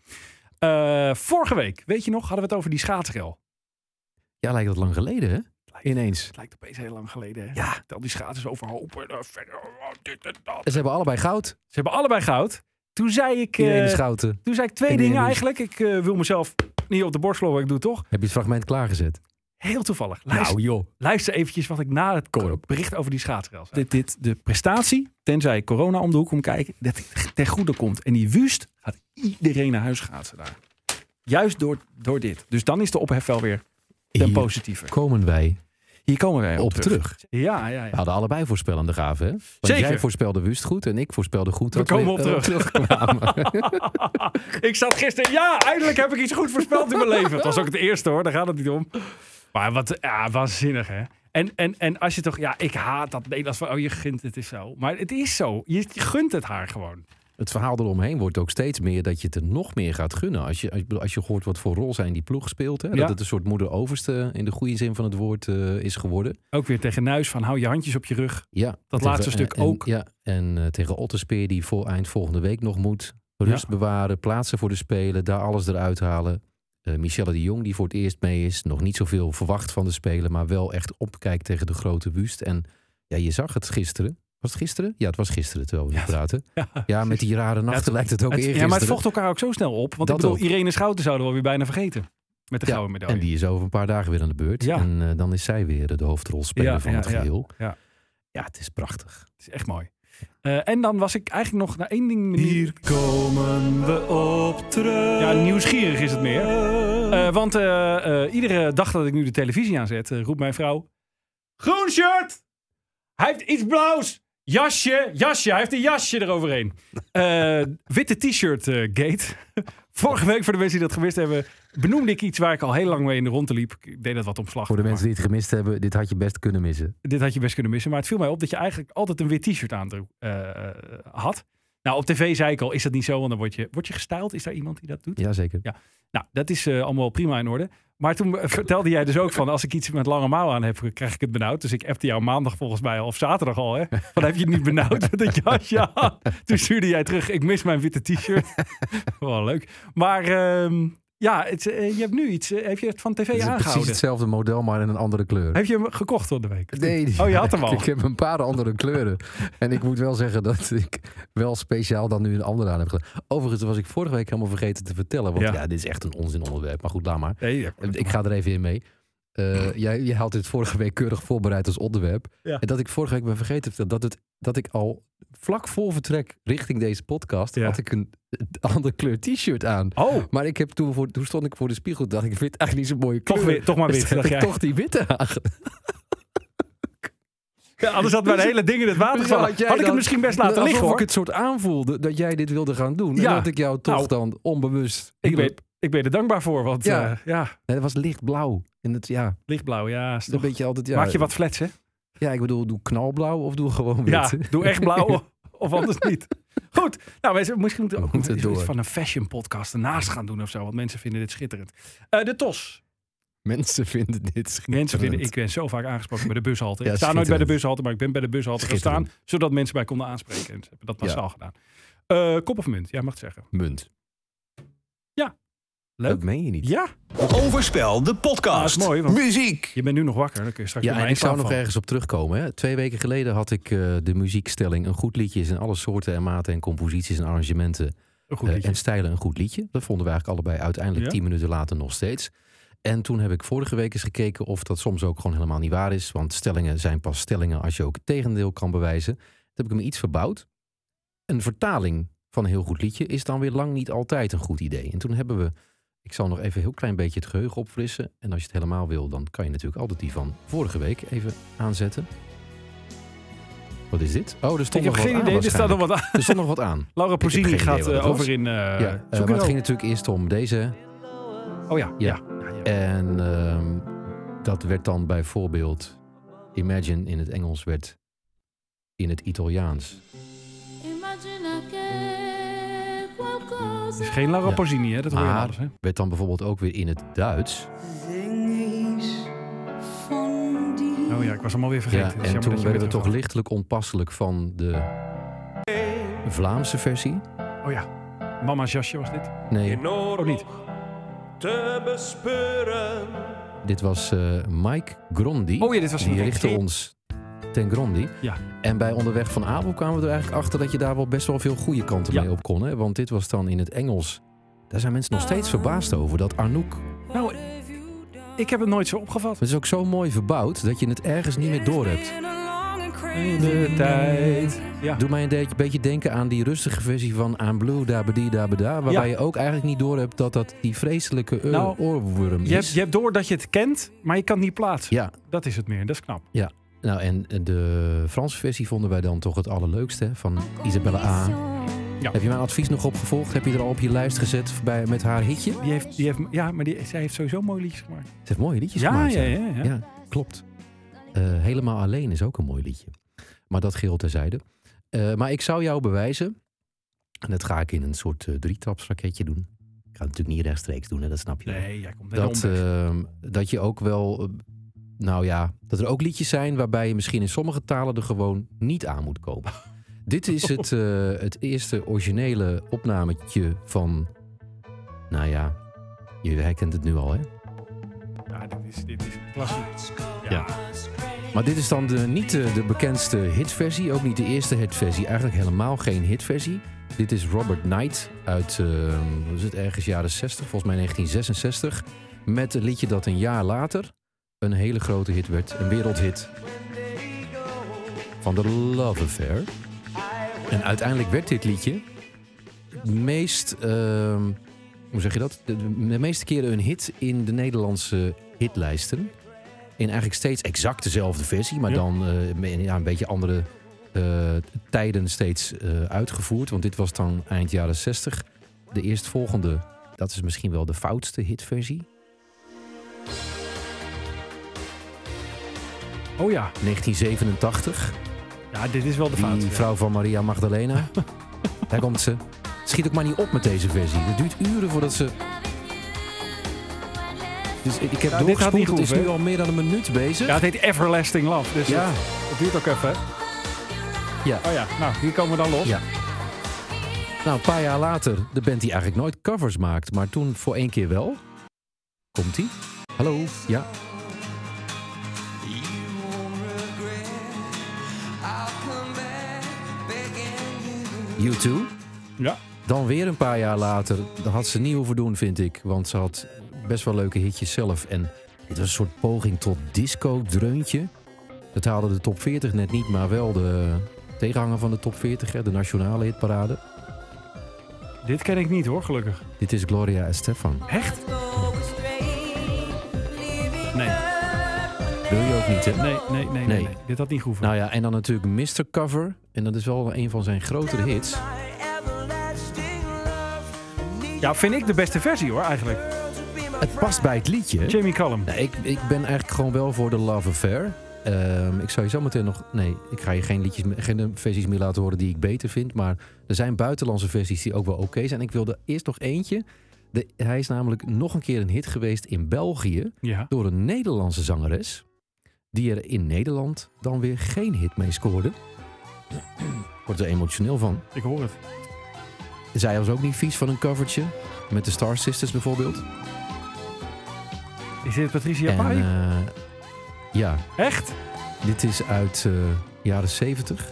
C: Eh, vorige week, weet je nog, hadden we het over die schaatsrel.
D: Ja, lijkt dat lang geleden, hè? Ineens.
C: Het lijkt opeens heel lang geleden. Hè?
D: Ja.
C: Tel die schaatsers overhoop. En, eh, verder, oh, dit en dat.
D: Ze hebben allebei goud.
C: Ze hebben allebei goud. Toen zei ik, eh,
D: Iedereen is gouden.
C: toen zei ik twee
D: in de
C: dingen
D: ene is-
C: eigenlijk. Ik eh, wil mezelf niet op de borst lopen, ik doe het toch.
D: Heb je het fragment klaargezet?
C: Heel toevallig. Luister,
D: Nou, joh.
C: luister eventjes wat ik na het
D: Kom maar op.
C: bericht over die schaatsrel zei. Dit, dit, de prestatie, tenzij corona om de hoek om kijken, dat die ten goede komt. En die wust gaat iedereen naar huis schaatsen daar. Juist door, door dit. Dus dan is de ophef wel weer ten
D: Hier
C: positieve.
D: komen wij
C: Hier komen wij op,
D: op terug.
C: Ja, ja,
D: We
C: ja.
D: hadden allebei voorspellende gaven, hè? Want
C: Zeker.
D: jij voorspelde wust goed en ik voorspelde goed dat
C: komen op
D: eh,
C: terug.
D: terugkwamen.
C: Ik zat gisteren, ja, eindelijk heb ik iets goed voorspeld in mijn leven. Het was ook het eerste hoor, daar gaat het niet om. Maar wat, ja, waanzinnig hè. En, en, en als je toch, ja, ik haat dat Nederlands van, oh je gunt het is zo. Maar het is zo, je gunt het haar gewoon.
D: het verhaal eromheen wordt ook steeds meer dat je het er nog meer gaat gunnen. Als je, als, je- als je hoort wat voor rol zij in die ploeg speelt. Hè?
C: Ja.
D: Dat het een soort moeder-overste in de goede zin van het woord eh, is geworden.
C: Ook weer tegen Nuis van, hou je handjes op je rug.
D: Ja,
C: laatste stuk
D: en-
C: ook.
D: Ja, en eh, tegen Otterspeer die voor eind volgende week nog moet. Rust bewaren, plaatsen voor de Spelen, daar alles eruit halen. Eh, Michelle de Jong die voor het eerst mee is. Nog niet zoveel verwacht van de Spelen, maar wel echt opkijkt tegen de grote wust. En ja, je zag het gisteren. Was het gisteren? Ja, het was gisteren terwijl we nu praten. Ja, met die rare nachten
C: het-
D: lijkt het ook
C: Het-
D: eerder.
C: ja, maar het vocht elkaar ook zo snel op. Want
D: Dat
C: ik bedoel,
D: ook.
C: Irene Schouten zouden we alweer bijna vergeten. Met de
D: Ja,
C: gouden medaille.
D: En die is over een paar dagen weer aan de beurt.
C: Ja.
D: En eh, dan is zij weer de hoofdrolspeler
C: Ja,
D: van
C: ja,
D: het
C: ja.
D: geheel.
C: Ja.
D: ja, het is prachtig.
C: Het is echt mooi. Eh, en dan was ik eigenlijk nog naar één ding...
D: Hier komen we op terug.
C: Ja, nieuwsgierig is het meer. Eh, want eh, eh, iedere dag dat ik nu de televisie aanzet, eh, roept mijn vrouw... Groen shirt! Hij heeft iets blauws! Jasje, jasje, hij heeft een jasje eroverheen. Eh, witte t-shirt eh, gate. Vorige week, voor de mensen die dat gewist hebben, benoemde ik iets waar ik al heel lang mee in de rondte liep. Ik deed dat wat omslag.
D: Voor de mensen die het gemist hebben, dit had je best kunnen missen.
C: dit had je best kunnen missen. Maar het viel mij op dat je eigenlijk altijd een wit t-shirt aan droeg, eh, eh, had. Nou, op tv zei ik al, is dat niet zo? Want dan word je, word je gestyled. Is daar iemand die dat doet?
D: Jazeker.
C: Nou, dat is eh, allemaal prima in orde. Maar toen eh, vertelde jij dus ook van, als ik iets met lange mouwen aan heb, krijg ik het benauwd. Dus ik appte jou maandag volgens mij al, of zaterdag al, hè? Van, heb je het niet benauwd met dat jasje aan? Toen stuurde jij terug, ik mis mijn witte t-shirt. Wel leuk. Maar ehm, ja, het, eh, je hebt nu iets, eh, heb je het van tv
D: Het is precies
C: aangehouden?
D: hetzelfde model, maar in een andere kleur.
C: Heb je hem gekocht door de week?
D: Nee, die-
C: Oh, je had hem al.
D: Ik heb een paar andere kleuren. En ik moet wel zeggen dat ik wel speciaal dan nu een andere aan heb gedaan. Overigens was ik vorige week helemaal vergeten te vertellen. Want
C: Ja.
D: ja, dit is echt een onzin onderwerp. Maar goed, laat maar.
C: Nee, ja.
D: Ik ga er even in mee. Eh, jij, jij had dit vorige week keurig voorbereid als onderwerp.
C: Ja.
D: En dat ik vorige week ben vergeten te vertellen dat, het, dat ik al vlak voor vertrek richting deze podcast
C: Ja.
D: had ik een, een andere kleur t-shirt aan.
C: Oh,
D: Maar ik heb toen, voor, toen stond ik voor de spiegel dacht ik, ik vind het eigenlijk niet zo'n mooie
C: Toch
D: kleur.
C: weer- toch maar
D: Dus
C: wit,
D: heb
C: dacht jij.
D: ik toch die witte aan.
C: Ja, anders had mijn
D: Dus-
C: hele ding in het water
D: dus
C: gevallen.
D: had
C: Had,
D: jij
C: ik
D: dan-
C: het misschien best
D: Alsof
C: laten liggen hoor.
D: ik het soort aanvoelde dat jij dit wilde gaan doen.
C: Ja.
D: En dat ik jou toch
C: Nou.
D: dan onbewust...
C: Ik,
D: hielp.
C: ben, ik ben er dankbaar voor, want ja,
D: Ja.
C: ja
D: Nee, dat was lichtblauw. En het, ja, het
C: lichtblauw, ja, is
D: is
C: toch...
D: een beetje altijd... Ja,
C: Maak je wat flats, hè?
D: Ja, ik bedoel, doe knalblauw of doe gewoon wit.
C: Ja, doe echt blauw of anders niet. Goed, nou, mensen, misschien moeten we ook
D: We moeten
C: nog iets
D: door.
C: van een fashion podcast ernaast gaan doen of zo, want mensen vinden dit schitterend. Eh, de TOS.
D: Mensen vinden dit schitterend.
C: Mensen vinden, ik ben zo vaak aangesproken bij de bushalte.
D: Ja,
C: ik sta nooit bij de
D: schitterend.
C: bushalte, maar ik ben bij de bushalte gaan staan,
D: Schitterend.
C: zodat mensen mij konden aanspreken. En ze hebben dat
D: Ja.
C: massaal gedaan. Eh, kop of munt, jij mag het zeggen.
D: Munt.
C: Ja.
D: Leuk. Dat meen je niet.
C: Ja,
A: Overspel, de
C: dat Ah, is
A: podcast.
C: Ah, mooi, want
B: Muziek.
C: je bent nu nog wakker. Dan kun je straks
D: Ja,
C: weer
D: en
C: maar
D: ik
C: in
D: zou
C: slaap
D: nog
C: vallen.
D: ergens op terugkomen. Hè. Twee weken geleden had ik eh, de muziekstelling een goed liedje is in alle soorten en maten en composities en arrangementen
C: Een goed
D: eh,
C: liedje.
D: en stijlen een goed liedje. Dat vonden we eigenlijk allebei uiteindelijk
C: Ja?
D: tien minuten later nog steeds. En toen heb ik vorige week eens gekeken of dat soms ook gewoon helemaal niet waar is. Want stellingen zijn pas stellingen als je ook het tegendeel kan bewijzen. Toen heb ik hem iets verbouwd. Een vertaling van een heel goed liedje is dan weer lang niet altijd een goed idee. En toen hebben we, ik zal nog even een heel klein beetje het geheugen opfrissen. En als je het helemaal wil, dan kan je natuurlijk altijd die van vorige week even aanzetten. Wat is dit? Oh, er
C: Ik
D: stond
C: heb
D: nog wat
C: geen
D: aan
C: idee, er staat nog
D: waarschijnlijk.
C: wat aan.
D: Er stond nog wat aan.
C: Laura
D: geen
C: Pozzini
D: idee
C: gaat
D: wat
C: eh,
D: dat was.
C: over in... eh
D: Ja, eh,
C: zoek
D: maar
C: het
D: het
C: op.
D: ging natuurlijk eerst om deze.
C: Oh ja, ja.
D: Ja. En ehm, dat werd dan bijvoorbeeld Imagine in het Engels werd in het Italiaans.
E: Immagina che
C: Het is
E: qualcosa
C: geen Laura
D: Ja. Ah.
C: Pausini, hè? Dat hoor je
D: Maar-
C: aan alles, hè?
D: Werd dan bijvoorbeeld ook weer in het Duits.
C: Oh ja, ik was allemaal weer
D: Ja,
C: vergeten.
D: en toen werden we toch lichtelijk onpasselijk van de Vlaamse versie.
C: Oh ja, mama's jasje was dit.
D: Nee,
C: Of niet? Oh
D: dit was eh, Mike Grondi.
C: Oh ja, dit was
D: Die
C: een
D: richtte ons ten Grondi.
C: Ja.
D: En bij Onderweg van Abel kwamen we er eigenlijk achter dat je daar wel best wel veel goede kanten
C: Ja.
D: mee op kon. Hè? Want dit was dan in het Engels. Daar zijn mensen nog steeds verbaasd over dat Arnoek
C: Nou, ik heb het nooit zo opgevat.
D: Het is ook zo mooi verbouwd dat je het ergens niet meer door hebt.
C: In de tijd. Ja,
D: Doe mij een de- beetje denken aan die rustige versie van I'm Blue Dabedi Dabeda. Waarbij
C: Ja.
D: je ook eigenlijk niet door hebt dat dat die vreselijke eh,
C: Nou,
D: oorworm is.
C: je hebt, je hebt door dat je het kent, maar je kan het niet plaatsen.
D: Ja,
C: Dat is het meer, dat is knap.
D: nou en de Franse versie vonden wij dan toch het allerleukste hè, van Isabella A. Heb je mijn advies nog opgevolgd? Heb je er al op je lijst gezet bij, met haar hitje? Ze
C: Die heeft,
E: er-
C: die heeft, ja, maar die, zij heeft sowieso mooie liedjes gemaakt.
D: heeft mooie liedjes
C: Ja,
D: gemaakt.
C: ja,
D: hè?
C: ja, ja.
D: Ja, klopt. Eh, Helemaal alleen is ook een mooi liedje. Maar dat geheel terzijde. Eh, maar ik zou jou bewijzen. En dat ga ik in een soort eh, drietrapsraketje doen. Ik ga het natuurlijk niet rechtstreeks doen, hè, dat snap je. wel.
C: Nee, jij komt net
D: Dat,
C: om.
D: ehm, dat je ook wel. eh, nou ja, dat er ook liedjes zijn waarbij je misschien in sommige talen er gewoon niet aan moet komen. Dit is het, eh, het eerste originele opnametje van. Nou ja, je herkent het nu al, hè?
C: Ja, dit is, dit is klassiek.
D: Maar dit is dan de, niet de, de bekendste hitversie, ook niet de eerste hitversie. Eigenlijk helemaal geen hitversie. Dit is Robert Knight uit, eh, wat is het, ergens jaren 60, volgens mij 1966. Met een liedje dat een jaar later een hele grote hit werd. Een wereldhit. Van The Love Affair. En uiteindelijk werd dit liedje de meest, ehm, hoe zeg je dat? De, de- de meeste keren een hit in de Nederlandse hitlijsten. In eigenlijk steeds exact dezelfde versie, maar
C: Ja.
D: dan eh, me- ja, een beetje andere eh, tijden steeds eh, uitgevoerd. Want dit was dan eind jaren 60. De eerstvolgende, dat is misschien wel de foutste hitversie.
C: Oh ja.
D: 1987.
C: Ja, dit is wel de fout.
D: Die vrouw van Maria Magdalena. Daar komt ze. Schiet ook maar niet op met deze versie. Het duurt uren voordat ze... Dus ik ik heb
C: Ja, dit gaat niet
D: doorgespoeld. Het is
C: goed, hè?
D: nu al meer dan een minuut bezig.
C: Ja, het heet Everlasting Love. Dus
D: Ja.
C: dat, dat duurt ook even. hè?
D: Ja.
C: Oh ja, nou, hier komen we dan los.
D: Ja. Nou, een paar jaar later. De band die eigenlijk nooit covers maakt. Maar toen voor één keer wel. Komt-ie. Hallo. Ja. You too.
C: Ja.
D: Dan weer een paar jaar later, daar had ze niet hoeven doen, vind ik. Want ze had best wel leuke hitjes zelf. En dit was een soort poging tot disco-dreuntje. Dat haalde de top 40 net niet, maar wel de tegenhanger van de top 40, hè, de nationale hitparade.
C: Dit ken ik niet hoor, gelukkig.
D: Dit is Gloria Estefan.
C: Echt? Nee.
D: Wil je ook niet, hè?
C: Nee, nee, nee, nee.
D: Nee.
C: nee. Dit had niet gehoeven.
D: Nou ja, en dan natuurlijk Mr. Cover. En dat is wel een van zijn grotere hits.
C: Ja, vind ik de beste versie hoor, eigenlijk.
D: Het past bij het liedje.
C: Jamie Cullum.
D: Nou, ik, ik ben eigenlijk gewoon wel voor de Love Affair. Ehm, ik zou je zo meteen nog... Nee, ik ga je geen, liedjes, me- geen eh, versies meer laten horen die ik beter vind. Maar er zijn buitenlandse versies die ook wel oké zijn. Ik wilde eerst nog eentje. De, hij is namelijk nog een keer een hit geweest in België...
C: Ja.
D: door een Nederlandse zangeres... die er in Nederland dan weer geen hit mee scoorde. Ik word er emotioneel van.
C: Ik hoor het.
D: Zij was ook niet vies van een covertje. Met de Star Sisters bijvoorbeeld.
C: Is dit Patricia
D: En,
C: Pai?
D: eh, ja,
C: Echt?
D: Dit is uit eh jaren 70.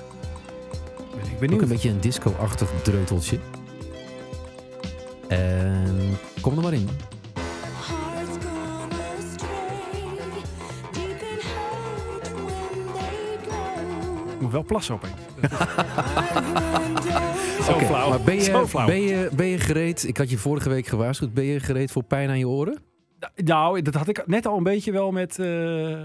C: Ben ik
D: Ook een
C: benieuwd.
D: beetje een disco-achtig dreuteltje. En kom er maar in.
F: Hearts gone astray, deep in hurt when they
C: Ik
F: grow.
C: moet wel plassen opeens.
F: I
C: Zo
D: Oké,
C: flauw.
D: Maar ben
C: Zo
D: je,
C: flauw.
D: ben, je, ben je gereed? Ik had je vorige week gewaarschuwd. Ben je gereed voor pijn aan je oren?
C: Nou, dat had ik net al een beetje wel met eh,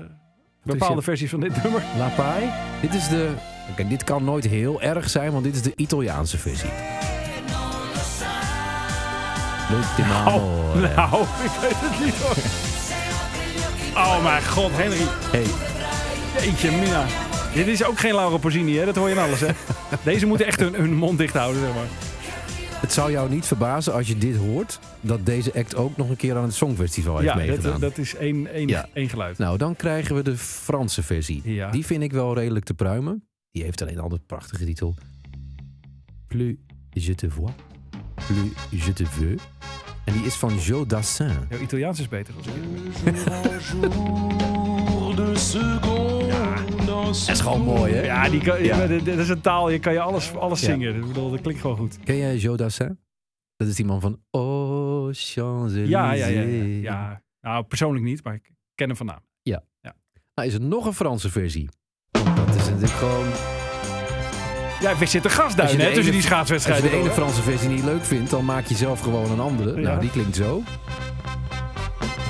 C: bepaalde versies van
D: Oh,
C: dit nummer.
D: La Pai? Dit is de... Kijk, dit kan nooit heel erg zijn, want dit is de Italiaanse versie. L'ultimo. amore.
C: Nou, ik weet het niet hoor. Oh mijn god, Henry.
D: Hey,
C: Jeetje mina. Dit is ook geen Laura Pausini, hè? dat hoor je in alles. Hè? Deze moeten echt hun, hun mond dicht houden, zeg maar.
D: het zou jou niet verbazen als je dit hoort... dat deze act ook nog een keer aan het Songfestival heeft
C: Ja,
D: meegedaan.
C: dat, dat is één, één,
D: Ja.
C: één geluid.
D: Nou, dan krijgen we de Franse versie.
C: Ja.
D: Die vind ik wel redelijk te pruimen. Die heeft alleen al de prachtige titel. Plus je te vois, plus je te veux. En die is van Jo Dassin.
C: Jouw Italiaans is beter. Als ik het doe.
D: Dat is gewoon mooi, hè?
C: ja, die kan,
D: Ja.
C: ja, dit- dit is een taal, je kan je alles, alles
D: Ja.
C: zingen. Ik bedoel, dat klinkt gewoon goed.
D: Ken jij Jo Dassin? Dat is die man van Oh, Champs-Élysées.
C: Ja, ja, ja, ja. ja. Nou, persoonlijk niet, maar ik ken hem van naam.
D: Nou, is er nog een Franse versie. Want dat is natuurlijk gewoon...
C: Ja, we zitten
D: Als je
C: gasduin
D: de
C: hè, tussen
D: ene-
C: die
D: Als je
C: schaatswedstrijden.
D: de ene
C: door, hè?
D: Franse versie niet leuk vindt, dan maak je zelf gewoon een andere.
C: Ja.
D: Nou, die klinkt zo.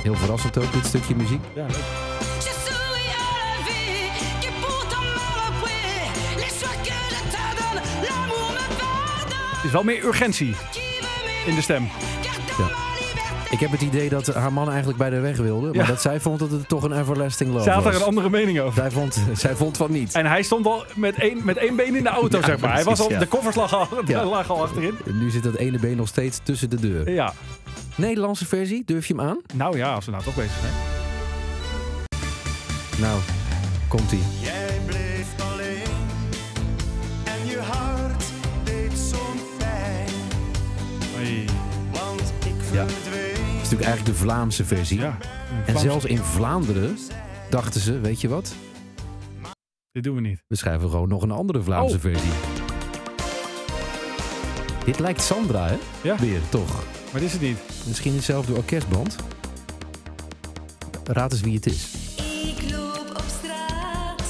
D: Heel verrassend ook, dit stukje muziek.
C: Ja, leuk.
E: Je souris à la vie qui pourtant m'a repris les choix que je te donne. L'amour me pardonne
C: Er is wel meer urgentie
E: qui veut
C: in de stem.
D: Oh,
E: m'écarter
D: Ja.
E: ma liberté.
D: Ik heb het idee dat haar man eigenlijk bij de weg wilde. Maar
C: Ja.
D: dat zij vond dat het toch een everlasting love
C: Zij had
D: was.
C: daar een andere mening over.
D: zij, vond, zij vond van niet.
C: En hij stond al met één, met één been in de auto,
D: Ja,
C: zeg maar. Hij was al,
D: precies,
C: De
D: ja.
C: koffers lagen al,
D: Ja.
C: lagen al achterin.
D: Nu zit dat ene been nog steeds tussen de deur.
C: Ja,
D: Nederlandse versie, durf je hem aan?
C: nou ja, als we nou toch bezig zijn.
D: Nou, komt ie.
G: Jij bleef alleen en je hart deed soms pijn, want ik
D: Ja.
G: verdween.
D: Dat is natuurlijk eigenlijk de Vlaamse versie.
C: Ja,
D: En zelfs in Vlaanderen dachten ze, weet je wat?
C: dit doen we niet.
D: We schrijven gewoon nog een andere Vlaamse
C: Oh.
D: versie. Dit lijkt Sandra, hè?
C: Ja.
D: Weer, toch?
C: Maar dit is het niet.
D: Misschien hetzelfde orkestband. Raad eens wie het is.
F: loop op straat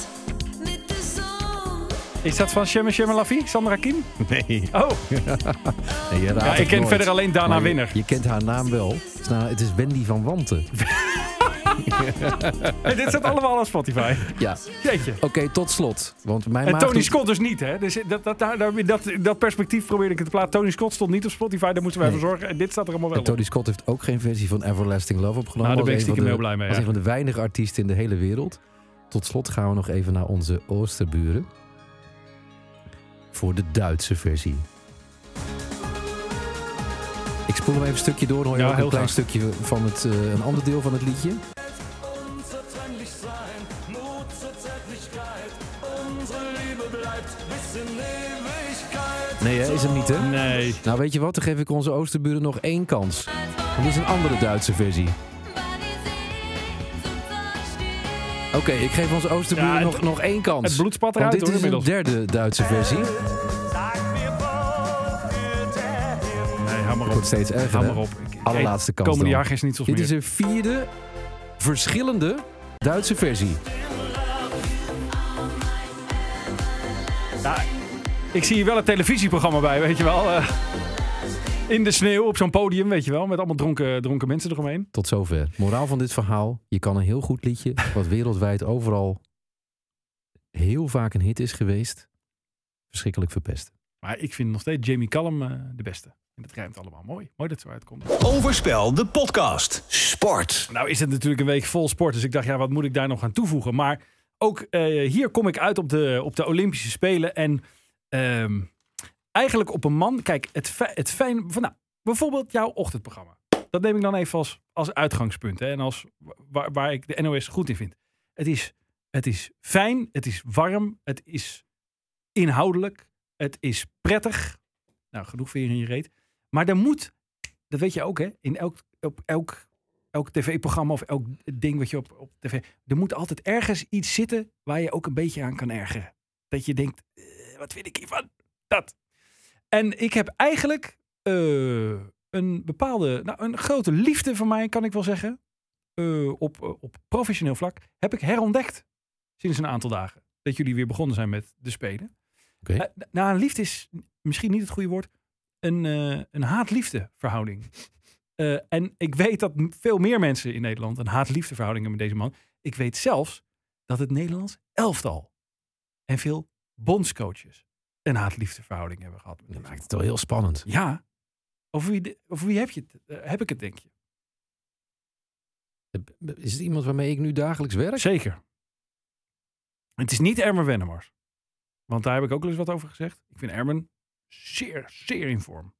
F: met de zon
C: Is dat van Shemme Shemme Lafie? Sandra Kim?
D: Nee.
C: Oh,
D: Nee, je raadt
C: ja, ik
D: het
C: ken
D: nooit.
C: verder alleen Dana
D: Maar je-
C: Winner.
D: Je, kent haar naam wel. Het is nou- het is Wendy van Wanten.
C: Hey, dit staat allemaal op Spotify.
D: Ja.
C: Jeetje.
D: Oké, tot slot. Want mijn
C: En
D: maag
C: Tony
D: doet-
C: Scott dus niet, hè? Dus dat, dat, daar- daar- dat, dat perspectief probeerde ik te plaatsen. Tony Scott stond niet op Spotify, daar moesten wij
D: Nee.
C: voor zorgen. En dit staat er allemaal wel
D: En
C: op.
D: Tony Scott heeft ook geen versie van Everlasting Love opgenomen.
C: Nou, daar
D: Als
C: ben ik
D: een van
C: stiekem
D: de-
C: heel blij mee,
D: Als
C: ja.
D: een van de weinige artiesten in de hele wereld. Tot slot gaan we nog even naar onze Oosterburen. Voor de Duitse versie. Ik spoel hem even een stukje door. Hoor je
C: Ja,
D: ook een
C: heel
D: klein
C: graag.
D: stukje van het, eh, een ander deel van het liedje?
H: unzertrennlich sein, Mut zur Zärtlichkeit. Unsere Liebe bleibt bis in Ewigkeit.
D: Nee, hè? is hem niet, hè?
C: Nee.
D: Nou, weet je wat? Dan geef ik onze Oosterburen nog één kans. Want dit is een andere Duitse versie. Oké, ik geef onze Oosterburen
C: Ja, het-
D: nog, nog één kans.
C: het bloed spat
D: Want
C: eruit,
D: dit
C: hoor,
D: is een
C: inmiddels.
D: derde Duitse versie.
H: Sag mir, wofür der Himmel
C: Nee, hou maar op.
D: Wordt steeds erger.
C: Hou
D: hè?
C: maar op. Ik- ik-
D: Allerlaatste kans
C: Komende
D: dan.
C: jaar geen niets
D: Dit
C: meer.
D: is een vierde verschillende Duitse versie.
C: Ik zie hier wel het televisieprogramma bij, weet je wel. eh. in de sneeuw op zo'n podium, weet je wel. Met allemaal dronken, dronken mensen eromheen.
D: Tot zover. Moraal van dit verhaal. Je kan een heel goed liedje, wat wereldwijd overal heel vaak een hit is geweest, verschrikkelijk verpest.
C: Maar ik vind nog steeds Jamie Callum eh, de beste. En dat rijmt allemaal mooi. Mooi dat het zo uitkomt.
A: Overspel, de podcast.
B: Sport.
C: Nou is het natuurlijk een week vol sport. Dus ik dacht, ja, wat moet ik daar nog aan toevoegen? Maar ook eh, hier kom ik uit op de, op de Olympische Spelen. En ehm, eigenlijk op een man. Kijk, het, fi- het fijn van nou, bijvoorbeeld jouw ochtendprogramma. Dat neem ik dan even als, als uitgangspunt. Hè, en als wa- waar, waar ik de NOS goed in vind. Het is, het is fijn, het is warm, het is inhoudelijk, het is prettig. Nou, genoeg veer in je reet. Maar er moet, dat weet je ook hè, in elk, op elk elk tv-programma of elk ding wat je op, op tv... Er moet altijd ergens iets zitten waar je ook een beetje aan kan ergeren. Dat je denkt, eh, wat vind ik hiervan? Dat. En ik heb eigenlijk eh, een bepaalde, nou een grote liefde van mij kan ik wel zeggen. eh, op, eh, op professioneel vlak heb ik herontdekt sinds een aantal dagen. Dat jullie weer begonnen zijn met de spelen.
D: Oké.
C: Eh, n- nou, een liefde is misschien niet het goede woord. Een, eh, een haat-liefde verhouding. Eh, en ik weet dat m- veel meer mensen in Nederland een haat-liefde verhouding hebben met deze man. Ik weet zelfs dat het Nederlands elftal en veel bondscoaches een haat-liefde verhouding hebben gehad. met
D: Dat
C: deze
D: maakt
C: man.
D: het wel heel spannend.
C: Ja. Over wie, de- over wie heb je het? eh, heb ik het, denk je?
D: Is het iemand waarmee ik nu dagelijks werk?
C: Zeker. Het is niet Ermen Wennemars. Want daar heb ik ook al eens wat over gezegd. Ik vind Ermen zeer, zeer in vorm.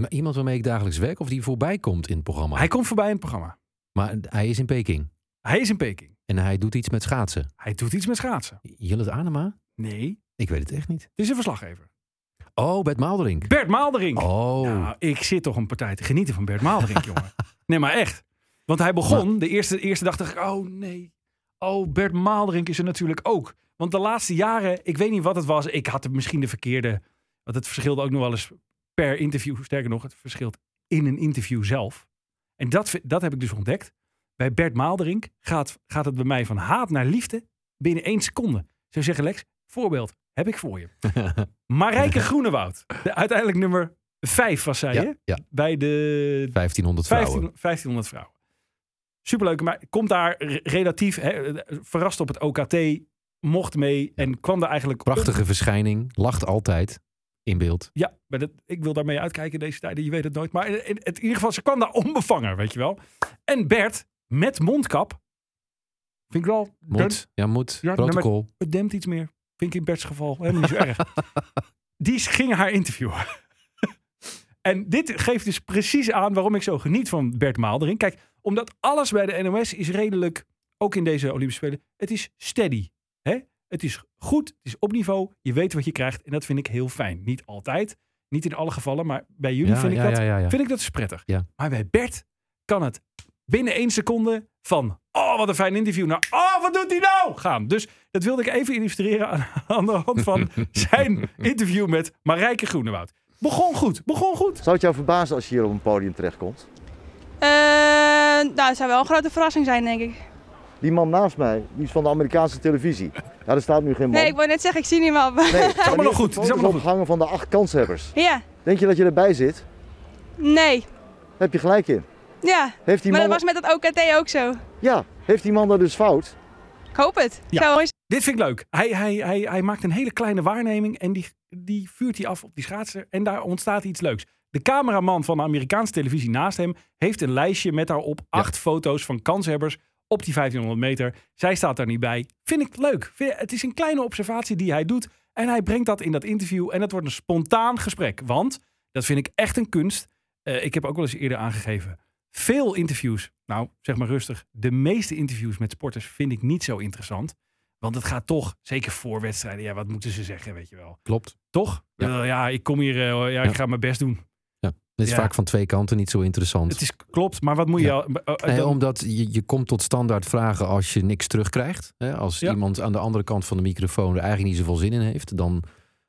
D: Maar Iemand waarmee ik dagelijks werk of die voorbij komt in het programma.
C: Hij komt voorbij in het programma.
D: Maar hij is in Peking
C: Hij is in Peking.
D: en hij doet iets met schaatsen.
C: Hij doet iets met schaatsen.
D: Jillet Anema?
C: Nee,
D: Ik weet het echt niet.
C: het is een verslaggever.
D: Oh, Bert Maalderink.
C: Bert Maalderink.
D: Oh.
C: Nou, ik zit toch een partij te genieten van Bert Maalderink, jongen. Nee, maar echt. Want hij begon, de eerste, de eerste dag dacht ik, oh nee. Oh, Bert Maalderink is er natuurlijk ook. Want de laatste jaren, ik weet niet wat het was. Ik had er misschien de verkeerde... Want het verschilde ook nog wel eens per interview. Sterker nog, het verschilt in een interview zelf. En dat, vi- dat heb ik dus ontdekt. Bij Bert Maalderink gaat, gaat het bij mij van haat naar liefde binnen één seconde. Zo zeggen Lex, voorbeeld heb ik voor je. Marijke Groenewoud. De, uiteindelijk nummer vijf was zij,
D: Ja,
C: hè?
D: ja.
C: Bij de
D: 1500 vrouwen.
C: 15, 1500 vrouwen. Superleuk, maar komt daar re- relatief hè, eh, verrast op het OKT, mocht mee en kwam daar eigenlijk... op-
D: Prachtige verschijning, lacht altijd in beeld.
C: Ja, maar dat, ik wil daarmee uitkijken in deze tijden, je weet het nooit. Maar in, in, in ieder geval, ze kwam daar onbevangen, weet je wel. En Bert, met mondkap, vind ik wel...
D: Moet, ja, moet.
C: Ja, nou,
D: protocol.
C: Het dempt iets meer. Vind ik in Bert's geval helemaal niet zo erg. Die ging haar interviewen. en dit geeft dus precies aan waarom ik zo geniet van Bert Maalderink. Kijk, omdat alles bij de NOS is redelijk, ook in deze Olympische Spelen, het is steady. Hè? Het is goed, het is op niveau, je weet wat je krijgt. En dat vind ik heel fijn. Niet altijd, niet in alle gevallen, maar bij jullie
D: Ja,
C: vind, ik
D: ja,
C: dat,
D: ja, ja, ja.
C: vind ik dat dus prettig.
D: Ja.
C: Maar bij Bert kan het binnen één seconde van... Oh, wat een fijn interview. Nou, oh, wat doet hij nou? Gaan. Dus dat wilde ik even illustreren aan, aan de hand van zijn interview met Marijke Groenewoud. Begon goed, begon goed.
I: Zou het jou verbazen als je hier op een podium terechtkomt?
J: Eh, nou, het zou wel een grote verrassing zijn, denk ik.
I: Die man naast mij, die is van de Amerikaanse televisie. Ja, er staat nu geen man.
J: Nee, ik wou net zeggen, ik zie niemand. maar-
I: Nee, maar
C: nog
I: die heeft
C: goed,
I: de
C: het is
I: foto's
C: allemaal nog
I: opgehangen van de acht kanshebbers.
J: Ja,
I: Denk je dat je erbij zit?
J: nee.
I: Heb je gelijk in.
J: Ja,
I: Heeft die
J: maar dat
I: man...
J: was met dat OKT ook zo.
I: Ja, heeft die man daar dus fout?
J: Ik hoop het.
C: Ja.
J: Zou wel eens-
C: Dit vind ik leuk. Hij, hij, hij, hij maakt een hele kleine waarneming en die, die vuurt hij af op die schaatser. En daar ontstaat iets leuks. De cameraman van de Amerikaanse televisie naast hem heeft een lijstje met daarop acht foto's van kanshebbers op die 1500 meter. Zij staat daar niet bij. Vind ik leuk. Vind- Het is een kleine observatie die hij doet. En hij brengt dat in dat interview en dat wordt een spontaan gesprek. Want, dat vind ik echt een kunst. Eh, ik heb ook wel eens eerder aangegeven. Veel interviews, nou zeg maar rustig, de meeste interviews met sporters vind ik niet zo interessant. Want het gaat toch, zeker voor wedstrijden, ja, wat moeten ze zeggen, weet je wel.
D: Klopt.
C: Toch? Ja, ja ik kom hier, eh, ja, ik
D: Ja.
C: ga mijn best doen.
D: Het is
C: Ja.
D: vaak van twee kanten niet zo interessant.
C: Het is, klopt, maar wat moet je...
D: Ja.
C: al- eh, eh,
D: Nee,
C: dan-
D: omdat je, je komt tot standaard vragen als je niks terugkrijgt. Hè? Als
C: Ja.
D: iemand aan de andere kant van de microfoon er eigenlijk niet zoveel zin in heeft, dan,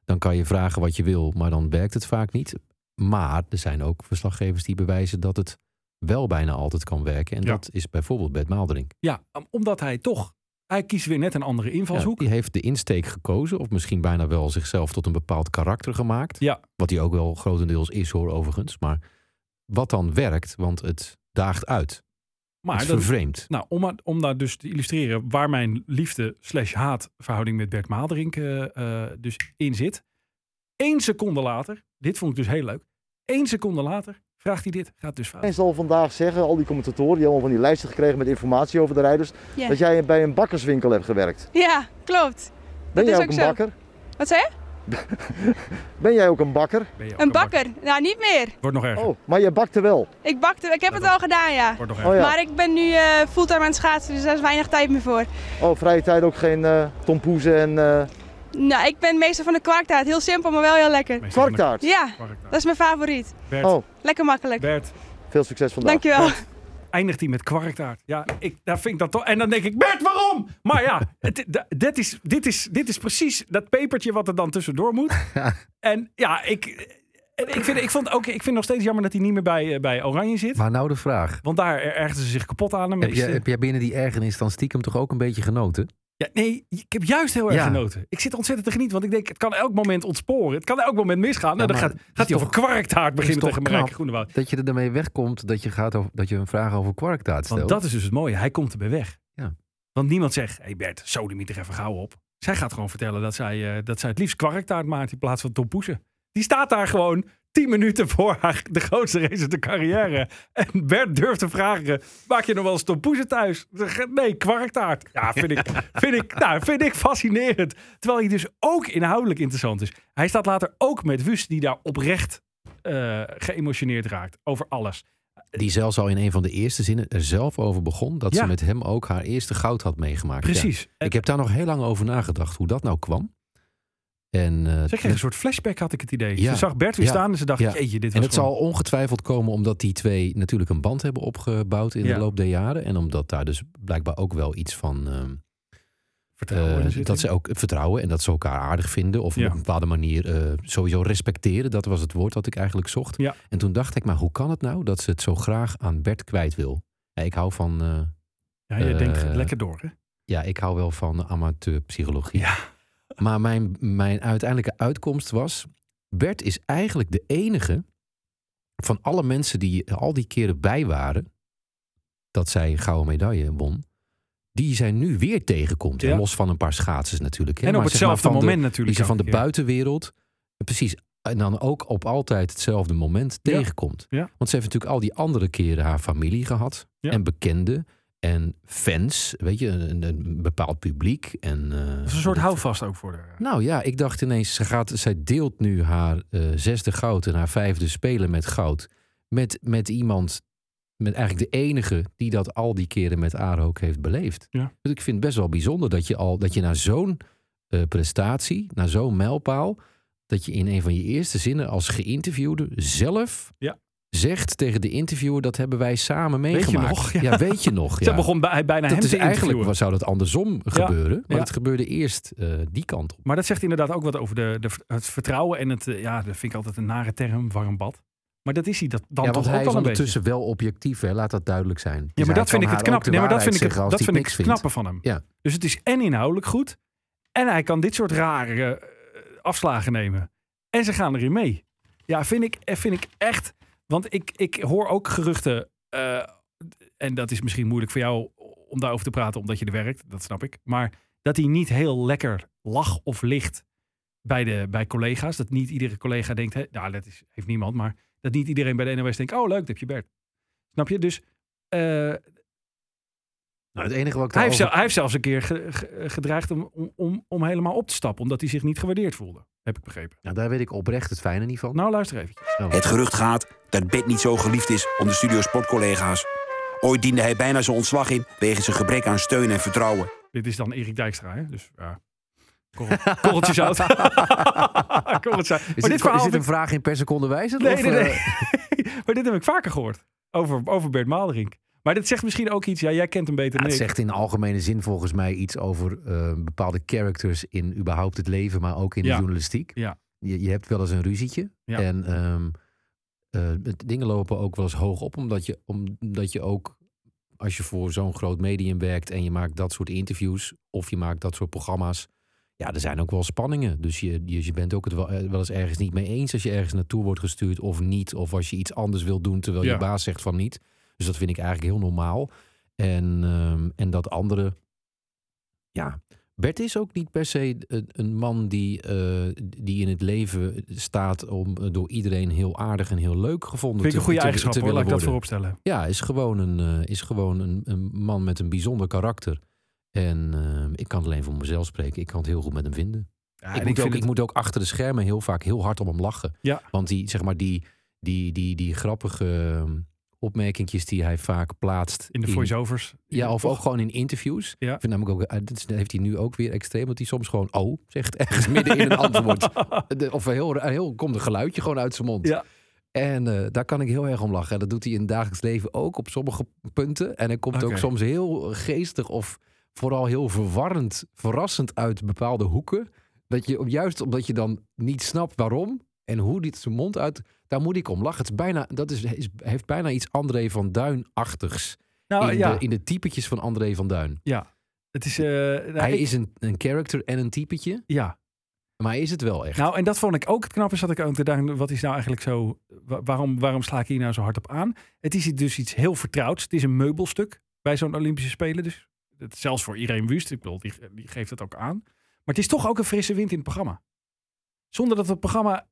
D: dan kan je vragen wat je wil, maar dan werkt het vaak niet. Maar er zijn ook verslaggevers die bewijzen dat het wel bijna altijd kan werken. En
C: Ja.
D: dat is bijvoorbeeld Bert Maalderink.
C: Ja, omdat hij toch... Hij kiest weer net een andere
D: Ja,
C: invalshoek.
D: die heeft de insteek gekozen, of misschien bijna wel zichzelf tot een bepaald karakter gemaakt.
C: Ja.
D: Wat hij ook wel grotendeels is hoor, overigens. Maar wat dan werkt, want het daagt uit.
C: maar
D: het
C: dat,
D: vervreemdt.
C: nou, om, maar- om daar dus te illustreren waar mijn liefde slash haat verhouding met Bert Maalderink eh, eh, dus in zit. Eén seconde later, dit vond ik dus heel leuk. Eén seconde later vraagt hij dit, gaat dus fout.
I: En zal vandaag zeggen, al die commentatoren, die allemaal van die lijsten gekregen met informatie over de rijders,
J: Ja.
I: dat jij bij een bakkerswinkel hebt gewerkt.
J: Ja, klopt.
I: Ben
J: Dat
I: jij
J: is
I: ook,
J: ook
I: een
J: zo.
I: bakker?
J: Wat zei je?
I: Ben jij ook een bakker?
C: Ben je ook
J: Een bakker. Nou, niet meer.
C: Wordt nog erger.
I: Oh, maar je bakte wel.
J: Ik bakte, ik heb het al gedaan, ja.
C: Wordt nog erger.
I: Oh ja.
J: Maar ik ben nu eh, fulltime aan het schaatsen, dus daar is weinig tijd meer voor.
I: Oh, vrije tijd ook geen eh tompoezen en eh
J: Nou, ik ben meester van de kwarktaart. Heel simpel, maar wel heel lekker.
C: Meestal van de
I: kwarktaart.
J: Ja,
C: kwark daar.
J: dat is mijn favoriet.
C: Bert,
I: Oh,
J: Lekker makkelijk.
C: Bert,
I: veel succes vandaag.
J: Dankjewel.
C: eindigt hij met kwarktaart. Ja, ik, daar vind ik dat toch. En dan denk ik, Bert, waarom? Maar ja, het, d- dit, is, dit, is, dit is precies dat pepertje wat er dan tussendoor moet. En ja, ik, en ik, vind, ik, vond, ook, ik vind nog steeds jammer dat hij niet meer bij, eh, bij Oranje zit.
D: Maar nou de vraag.
C: Want daar ergden ze zich kapot aan hem.
D: Heb, je,
C: Is-
D: heb jij binnen die ergernis dan stiekem toch ook een beetje genoten?
C: Ja, nee, ik heb juist heel erg
D: Ja.
C: genoten. Ik zit ontzettend te genieten, want ik denk, het kan elk moment ontsporen. Het kan elk moment misgaan. nou, dan
D: maar
C: gaat,
D: het is
C: gaat hij over kwarktaart beginnen
D: toch
C: tegen Marijke
D: knap?
C: Groenewoud.
D: Dat je er daarmee wegkomt dat je, gaat over, dat je een vraag over kwarktaart stelt.
C: Want dat is dus het mooie. Hij komt erbij weg.
D: Ja.
C: Want niemand zegt, hey Bert, sodemiet er even gauw op. Zij gaat gewoon vertellen dat zij, eh, dat zij het liefst kwarktaart maakt in plaats van tompoesen. Die staat daar gewoon tien minuten voor haar, de grootste race uit de carrière. En Bert durft te vragen, maak je nog wel eens tompoesen thuis? Ze zegt, Nee, kwarktaart. Ja, vind ik, vind, ik, nou, vind ik fascinerend. Terwijl hij dus ook inhoudelijk interessant is. Hij staat later ook met Wust, die daar oprecht eh, geëmotioneerd raakt over alles.
D: Die zelfs al in een van de eerste zinnen er zelf over begon. Dat
C: Ja.
D: ze met hem ook haar eerste goud had meegemaakt. Ja.
C: Precies. En-
D: Ik heb daar nog heel lang over nagedacht hoe dat nou kwam. En, eh,
C: Ze kreeg een soort flashback, had ik het idee.
D: Ja.
C: Ze zag Bert weer
D: Ja.
C: staan en ze dacht,
D: Ja.
C: jeetje, dit
D: en
C: was
D: het zal ongetwijfeld komen omdat die twee natuurlijk een band hebben opgebouwd in
C: Ja.
D: de loop der jaren. En omdat daar dus blijkbaar ook wel iets van... ehm,
C: vertrouwen. in
D: Eh,
C: zitten.
D: dat ze ook vertrouwen en dat ze elkaar aardig vinden. Of
C: Ja.
D: op een bepaalde manier eh, sowieso respecteren. Dat was het woord dat ik eigenlijk zocht.
C: Ja.
D: En toen dacht ik, maar hoe kan het nou dat ze het zo graag aan Bert kwijt wil? Ja, ik hou van. eh,
C: Ja, je
D: eh,
C: denkt lekker door, hè?
D: ja, ik hou wel van amateurpsychologie.
C: Ja.
D: Maar mijn, mijn uiteindelijke uitkomst was. Bert is eigenlijk de enige van alle mensen die al die keren bij waren. dat zij een gouden medaille won. die zij nu weer tegenkomt.
C: Ja.
D: En los van een paar schaatsers natuurlijk. Hè.
C: en op
D: Maar zeg maar
C: hetzelfde
D: van de-
C: moment
D: die
C: natuurlijk.
D: ze van de
C: elke keer.
D: buitenwereld. eh, Precies. En dan ook op altijd hetzelfde moment
C: Ja,
D: tegenkomt.
C: ja.
D: Want ze heeft natuurlijk al die andere keren haar familie gehad.
C: Ja.
D: En bekenden. En fans. Weet je, een, een bepaald publiek. En, eh,
C: Dat is een soort houvast ook voor haar.
D: Nou ja, ik dacht ineens, ze gaat, zij deelt nu haar eh, zesde goud en haar vijfde spelen met goud. Met, met iemand, met eigenlijk de enige die dat al die keren met haar ook heeft beleefd.
C: Ja.
D: Dus ik vind het best wel bijzonder dat je, al, dat je na zo'n eh, prestatie, na zo'n mijlpaal, dat je in een van je eerste zinnen als geïnterviewde zelf
C: Ja.
D: zegt tegen de interviewer, dat hebben wij samen
C: je
D: meegemaakt.
C: nog? Ja.
D: weet je nog.
C: Ze
D: ja.
C: begon bij, bijna hem
D: Dat is
C: te
D: eigenlijk,
C: interviewen.
D: wat zou dat andersom gebeuren? Maar
C: Ja.
D: het gebeurde eerst eh, die kant op.
C: Maar dat zegt inderdaad ook wat over de, de, het vertrouwen en het... eh, Ja, dat vind ik altijd een nare term, warm bad. Maar dat is hij dat dan
D: ja,
C: toch ook
D: want hij
C: al
D: is
C: een beetje.
D: ondertussen wel objectief, hè? laat dat duidelijk zijn.
C: Ja,
D: Dus
C: maar
D: hij
C: dat vind ik
D: kan
C: het
D: haar ook
C: knap. Nee,
D: de
C: maar dat
D: waarheid
C: vind ik
D: zeggen
C: het,
D: als
C: dat
D: die
C: vind ik
D: niks
C: het
D: vindt.
C: knappe van hem.
D: Ja.
C: Dus het is en inhoudelijk goed. En hij kan dit soort rare eh, afslagen nemen. En ze gaan erin mee. Ja, vind ik, eh, vind ik echt. Want ik, ik hoor ook geruchten. eh, en dat is misschien moeilijk voor jou om daarover te praten, omdat je er werkt. Dat snap ik. Maar dat hij niet heel lekker lag of ligt bij, de, bij collega's. Dat niet iedere collega denkt, hè, nou, dat is, heeft niemand. Maar dat niet iedereen bij de NOS denkt, oh, leuk, dat heb je Bert. Snap je? Dus eh,
D: Nou, het enige wat ik
C: hij heeft,
D: daarover-
C: zel- hij heeft zelfs een keer ge- ge- gedreigd om, om- om, om helemaal op te stappen. Omdat hij zich niet gewaardeerd voelde. Heb ik begrepen.
D: Nou, daar weet ik oprecht het fijne niet van.
C: Nou, luister even.
B: Het gerucht gaat dat Bert niet zo geliefd is onder studio sportcollega's. Ooit diende hij bijna zijn ontslag in wegens een gebrek aan steun en vertrouwen.
C: Dit is dan Erik Dijkstra, hè? Dus ja. Korrel, korreltje zout. Korreltje zout.
D: is,
C: Maar
D: dit,
C: dit
D: is
C: verhaal...
D: dit
C: heb
D: een
C: ik-
D: vraag in per seconde wijzigd?
C: Nee,
D: of,
C: nee, nee.
D: eh,
C: maar dit heb ik vaker gehoord. Over, over Bert Maalderink. Maar dit zegt misschien ook iets. Ja, jij kent hem beter
D: Ja,
C: dan
D: het
C: ik.
D: zegt in algemene zin volgens mij iets over eh, bepaalde characters in überhaupt het leven, maar ook in
C: Ja.
D: de journalistiek.
C: Ja.
D: Je, je hebt wel eens een ruzietje.
C: Ja.
D: En ehm, eh, het- dingen lopen ook wel eens hoog op, omdat je, omdat je ook, als je voor zo'n groot medium werkt en je maakt dat soort interviews of je maakt dat soort programma's, ja, er zijn ook wel spanningen. Dus je, je, je bent ook het wel, eh, wel eens ergens niet mee eens als je ergens naartoe wordt gestuurd of niet. Of als je iets anders wil doen terwijl
C: Ja.
D: je baas zegt van niet. Dus dat vind ik eigenlijk heel normaal. En, ehm, en dat andere. Ja, Bert is ook niet per se een, een man die, eh, die in het leven staat om eh, door iedereen heel aardig en heel leuk gevonden
C: Vind ik
D: te,
C: een goede
D: te,
C: eigenschap
D: te
C: hoor. Laat
D: willen
C: ik dat
D: worden.
C: voorop stellen.
D: Ja, is gewoon, een, eh, is gewoon een, een man met een bijzonder karakter. En ehm, ik kan alleen voor mezelf spreken. Ik kan het heel goed met hem vinden ik, moet ook, ik moet ook achter de schermen heel vaak heel hard om hem lachen.
C: Ja.
D: Want die, zeg maar, die, die, die, die grappige ehm, opmerkingjes die hij vaak plaatst.
C: In de voiceovers.
D: Ja, of
C: Toch?
D: ook gewoon in interviews.
C: Ja.
D: Ik vind namelijk ook, eh, dat is- dat heeft hij nu ook weer extreem, dat hij soms gewoon oh zegt ergens midden in een antwoord. De- of een heel, een heel komt een geluidje gewoon uit zijn mond.
C: Ja.
D: En eh, daar kan ik heel erg om lachen. En dat doet hij in het dagelijks leven ook op sommige punten. En hij komt ook
C: Oké.
D: soms heel geestig of vooral heel verwarrend, verrassend uit bepaalde hoeken. Dat je, juist omdat je dan niet snapt waarom en hoe dit zijn mond uit... Daar moet ik om lachen. Het is bijna, dat is, is- heeft bijna iets André van Duin-achtigs
C: Nou
D: in,
C: ja,
D: de, in de typetjes van André van Duin.
C: het is... eh, nou,
D: hij
C: ik-
D: is een, een character en een typetje,
C: Ja.
D: maar hij is het wel echt.
C: Nou, en dat vond ik ook het knappe. Zat ik ook te denken, wat is nou eigenlijk zo... wa- Waarom, waarom sla ik hier nou zo hard op aan? Het is dus iets heel vertrouwds. Het is een meubelstuk bij zo'n Olympische Spelen. Dus het, zelfs voor Irene Wust, ik bedoel, die, die geeft dat ook aan. Maar het is toch ook een frisse wind in het programma. Zonder dat het programma...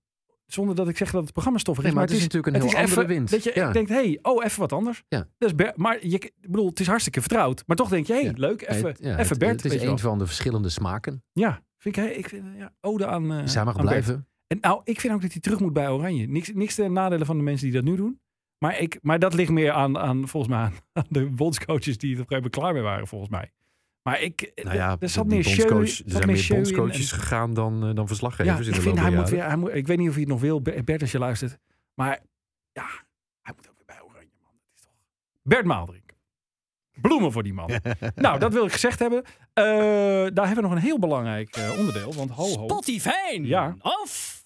C: Zonder dat ik zeg dat het programma stoffig is.
D: Nee, maar het is natuurlijk een
C: het
D: heel
C: is
D: andere
C: even
D: wind.
C: Dat je
D: Ja.
C: denkt, hey, oh, even wat anders.
D: Ja.
C: Dat is Ber- maar je, ik bedoel, het is hartstikke vertrouwd. Maar toch denk je, hey,
D: Ja.
C: leuk, even,
D: Nee, het- ja,
C: even
D: het-
C: Bert.
D: Het,
C: weet
D: is
C: je wel.
D: een van de verschillende smaken.
C: Ja, vind ik, hey, ik vind, ja, ode aan... eh,
D: Dus hij mag
C: aan Bert.
D: blijven.
C: En nou, ik vind ook dat hij terug moet bij Oranje. Niks, niks ten nadelen van de mensen die dat nu doen. Maar, ik, maar dat ligt meer aan, aan volgens mij, aan, aan de bondscoaches die er op een gegeven moment klaar mee waren, volgens mij. Maar ik, er- er zat meer show,
K: Nou bondscoach- er zijn meer bondscoaches gegaan dan, eh, dan
C: Ja,
K: verslaggevers
C: ik
K: in de
C: vind
K: loop
C: hij
K: der
C: moet
K: jaren.
C: weer, hij moet, ik weet niet of hij het nog wil, Ber- Bert, als je luistert. Maar ja, hij moet ook weer bij Oranje, man. Dat is toch... Bert Maalderink. Bloemen voor die man. nou, dat wil ik gezegd hebben. Eh, daar hebben we nog een heel belangrijk eh, onderdeel. Want ho, ho.
L: Spotify.
C: Ja.
L: Of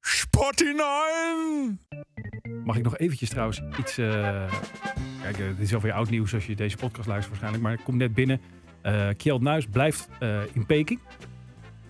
A: Sportinijn!
C: Mag ik nog eventjes trouwens iets... eh, Kijk, eh, dit is alweer oud nieuws als je deze podcast luistert waarschijnlijk. Maar ik kom net binnen. Eh Kjeld Nuis blijft eh, in Peking.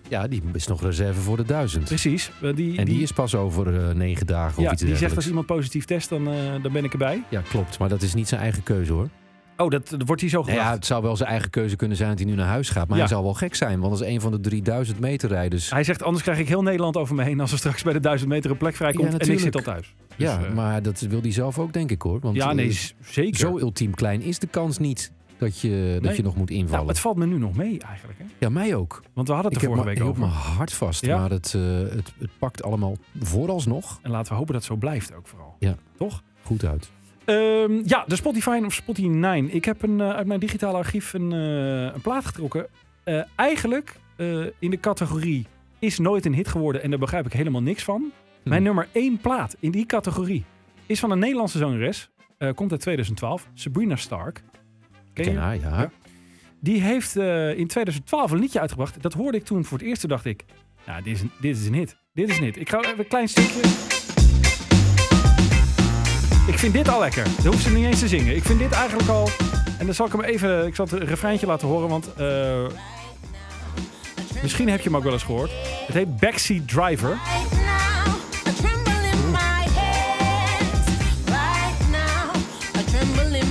D: Ja, die is nog reserve voor de duizend.
C: Precies. eh, die,
D: En die is pas over eh, negen dagen
C: ja,
D: of iets
C: die zegt
D: dergelijks.
C: als iemand positief test, dan, eh, dan ben ik erbij.
D: Ja, klopt. Maar dat is niet zijn eigen keuze hoor.
C: Oh, dat, dat wordt hij zo
D: Nou
C: gedacht.
D: ja, het zou wel zijn eigen keuze kunnen zijn dat hij nu naar huis gaat. Maar
C: Ja.
D: hij zou wel gek zijn. Want als een van de 3000 meter rijders.
C: Hij zegt, anders krijg ik heel Nederland over me heen als er straks bij de 1000 meter een plek vrijkomt.
D: Ja,
C: en ik
D: natuurlijk.
C: zit al thuis. Dus,
D: ja,
C: eh,
D: maar dat wil hij zelf ook, denk ik hoor. Want
C: ja, nee,
D: eh,
C: z- zeker. Nou,
D: zo ultiem klein is de kans niet dat je, dat
C: Nee.
D: je nog moet
C: nou,
D: invallen.
C: het valt me nu nog mee eigenlijk. Hè?
D: Ja, mij ook.
C: Want we hadden
D: Ik
C: het
D: heb
C: er vorige
D: me- ik
C: week
D: hield
C: over.
D: me hard vast.
C: Ja.
D: Maar het, eh, het, het pakt allemaal vooralsnog
C: En laten we hopen dat het zo blijft ook vooral.
D: Ja.
C: Toch?
D: goed uit.
C: Ehm, ja, de Spotify of Spotify 9. Ik heb een, eh, uit mijn digitale archief een, eh, een plaat getrokken. Eh, eigenlijk eh, in de categorie is nooit een hit geworden en daar begrijp ik helemaal niks van. Mijn nummer één plaat in die categorie is van een Nederlandse zangeres. eh, komt uit 2012, Sabrina Stark. Ken je?
D: Ja, ja.
C: Ja. Die heeft eh, in 2012 een liedje uitgebracht. Dat hoorde ik toen voor het eerst. Toen dacht ik, nou, dit is een, dit is een hit. Dit is een hit. Ik ga even een klein stukje... Ik vind dit al lekker. Dat hoeft ze niet eens te zingen. Ik vind dit eigenlijk al... En dan zal ik hem even... Ik zal het refreintje laten horen, want... eh, misschien heb je hem ook wel eens gehoord. Het heet Backseat Driver.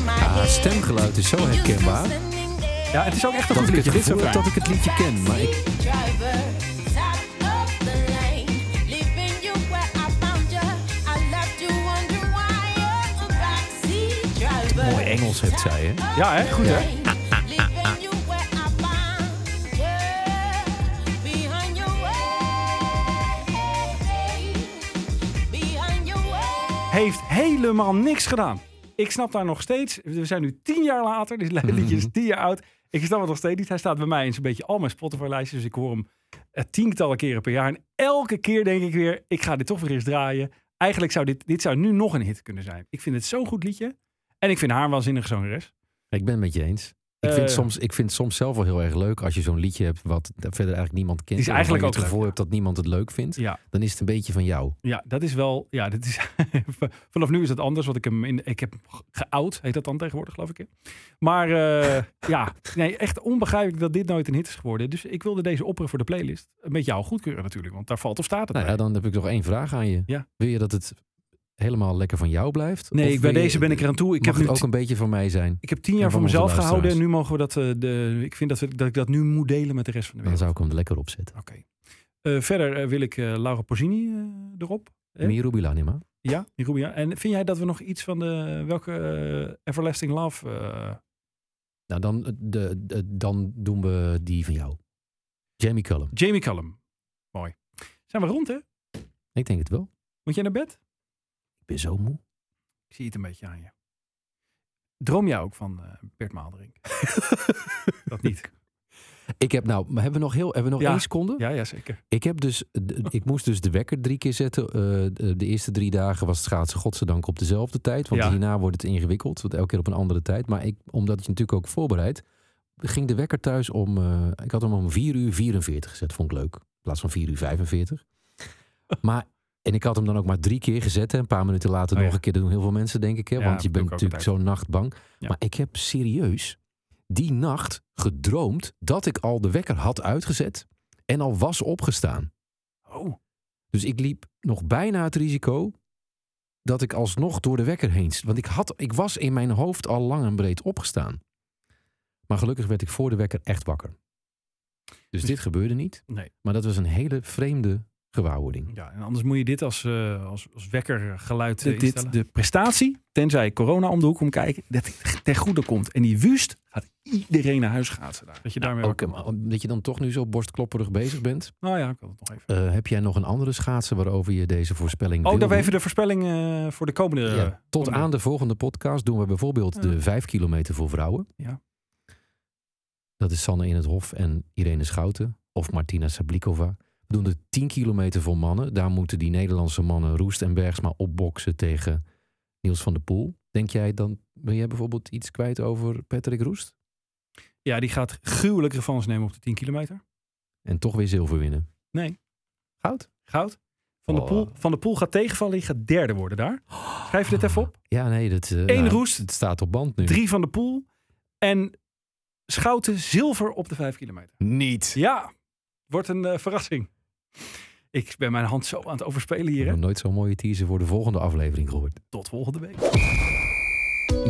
D: Ah, het stemgeluid is zo herkenbaar
C: Ja, het is ook echt een
D: dat
C: goed
D: ik het
C: liedje. Dit is
D: gevoel
C: ook
D: heb dat ik het liedje ken. Maar ik, mooi Engels heeft zij, hè?
C: Ja, hè? Goed, hè? heeft helemaal niks gedaan. Ik snap daar nog steeds. We zijn nu tien jaar later. Dit liedje is tien jaar oud. Ik snap het nog steeds niet. Hij staat bij mij in zo'n beetje al mijn Spotify-lijstjes. Dus ik hoor hem eh, tientallen keren per jaar. En elke keer denk ik weer, ik ga dit toch weer eens draaien. Eigenlijk zou dit, dit zou nu nog een hit kunnen zijn. Ik vind het zo'n goed liedje. En ik vind haar een waanzinnige zangeres.
D: Ik ben het met je eens. Ik vind,
C: Eh,
D: soms, ik vind het soms zelf wel heel erg leuk als je zo'n liedje hebt wat verder eigenlijk niemand kent.
C: is
D: en waarvan
C: eigenlijk
D: je
C: ook
D: het gevoel
C: leuk,
D: hebt dat niemand het leuk vindt.
C: Ja.
D: Dan is het een beetje van jou.
C: Ja, dat is wel. Ja, dit is, vanaf nu is dat anders. Want ik, hem in, ik heb hem geout, heet dat dan tegenwoordig, geloof ik. hè? Maar eh, ja, nee, echt onbegrijpelijk dat dit nooit een hit is geworden. Dus ik wilde deze oproep voor de playlist met jou goedkeuren natuurlijk. Want daar valt of staat het
D: Nou
C: bij.
D: ja, dan heb ik nog één vraag aan je.
C: Ja.
D: Wil je dat het helemaal lekker van jou blijft?
C: Nee,
D: Of
C: ik, bij
D: wil je-
C: deze ben ik eraan toe. Ik heb,
D: mag
C: nu
D: het ook
C: ti-
D: een beetje van mij zijn?
C: ik heb tien
D: en
C: jaar voor
D: van onze
C: mezelf gehouden. En
D: luisteraars.
C: nu mogen we dat... eh, de, ik vind dat, we, dat ik dat nu moet delen met de rest van de
D: Dan
C: wereld.
D: zou ik hem er lekker op zetten.
C: Oké. Eh, verder eh, wil ik eh, Laura Pozzini eh, erop. Hè?
D: Miru Bilanima.
C: Ja, die Rubia. En vind jij dat we nog iets van de... Welke eh, Everlasting Love... eh,
D: Nou, dan, eh, de, de- dan doen we die van jou. Jamie Cullum.
C: Jamie Cullum. Mooi. Zijn we rond, hè?
D: Ik denk het wel.
C: Moet jij naar bed?
D: Ik ben zo moe.
C: Ik zie het een beetje aan je. Droom jij ook van eh, Bert Maalderink? dat niet.
D: Ik heb nou, maar hebben we nog heel, hebben we nog
C: Ja.
D: één seconde?
C: Ja, ja, zeker.
D: Ik, heb dus, d- ik moest dus de wekker drie keer zetten. Eh, de- de eerste drie dagen was het schaatsen godzijdank op dezelfde tijd. Want
C: Ja.
D: hierna wordt het ingewikkeld. Want elke keer op een andere tijd. Maar ik, omdat je natuurlijk ook voorbereidt. Ging de wekker thuis om... eh, ik had hem om 4 uur 44 gezet. Vond ik leuk. In plaats van 4 uur 45. Maar... En ik had hem dan ook maar drie keer gezet. Hè. Een paar minuten later
C: Oh ja.
D: nog een keer. Dat doen heel veel mensen, denk ik. Hè?
C: Ja,
D: Want je
C: dat doe
D: bent
C: ik ook
D: natuurlijk zo'n nacht bang.
C: Ja.
D: Maar ik heb serieus die nacht gedroomd... dat ik al de wekker had uitgezet... en al was opgestaan.
C: Oh,
D: Dus ik liep nog bijna het risico dat ik alsnog door de wekker heen... st- Want ik, had, ik was in mijn hoofd al lang en breed opgestaan. Maar gelukkig werd ik voor de wekker echt wakker. Dus dit gebeurde niet.
C: nee.
D: Maar dat was een hele vreemde gewaarwording.
C: Ja, en anders moet je dit als, eh, als, als wekkergeluid eh, Dit, instellen. dit, de prestatie, tenzij corona om de hoek komt kijken, dat het ten goede komt. En die wust gaat iedereen naar huis gaan. Daar. Dat je daarmee
D: Ook
C: wakker
D: eh, omdat je dan toch nu zo borstklopperig bezig bent.
C: wordt. Nou ja, ik wil het nog even.
D: Eh, heb jij nog een andere schaatsen waarover je deze voorspelling
C: Oh,
D: wil
C: dan
D: doen?
C: even de voorspelling eh, voor de komende...
D: Ja, tot
C: komende-
D: aan de volgende podcast doen we bijvoorbeeld de 5 kilometer voor vrouwen.
C: Ja.
D: Dat is Sanne in het Hof en Irene Schouten of Martina Sablikova. We doen de 10 kilometer voor mannen. Daar moeten die Nederlandse mannen Roest en Bergsma opboksen tegen Niels van der Poel. Denk jij dan, wil jij bijvoorbeeld iets kwijt over Patrick Roest?
C: Ja, die gaat gruwelijk revanche nemen op de 10 kilometer.
D: En toch weer zilver winnen.
C: Nee.
D: Goud?
C: Goud. Van, de
D: Oh.
C: Poel, van de Poel gaat tegenvallen. Die gaat derde worden daar. Schrijf je dit even op.
D: Ja, nee. Dat, eh,
C: Eén
D: nou,
C: Roest.
D: Het staat op band nu.
C: Drie van de Poel. En Schouten zilver op de vijf kilometer.
D: Niet.
C: Ja, wordt een eh, verrassing. Ik ben mijn hand zo aan het overspelen
D: Ik
C: hier.
D: heb
C: Hè?
D: nog nooit zo'n mooie teaser voor de volgende aflevering gehoord.
C: Tot volgende week.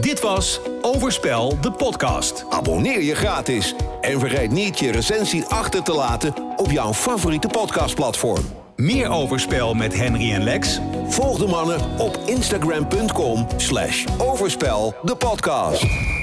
A: Dit was Overspel, de podcast.
B: Abonneer je gratis en vergeet niet je recensie achter te laten op jouw favoriete podcastplatform.
A: Meer Overspel met Henry en Lex
B: Volg de mannen op instagram.com slash overspel de podcast.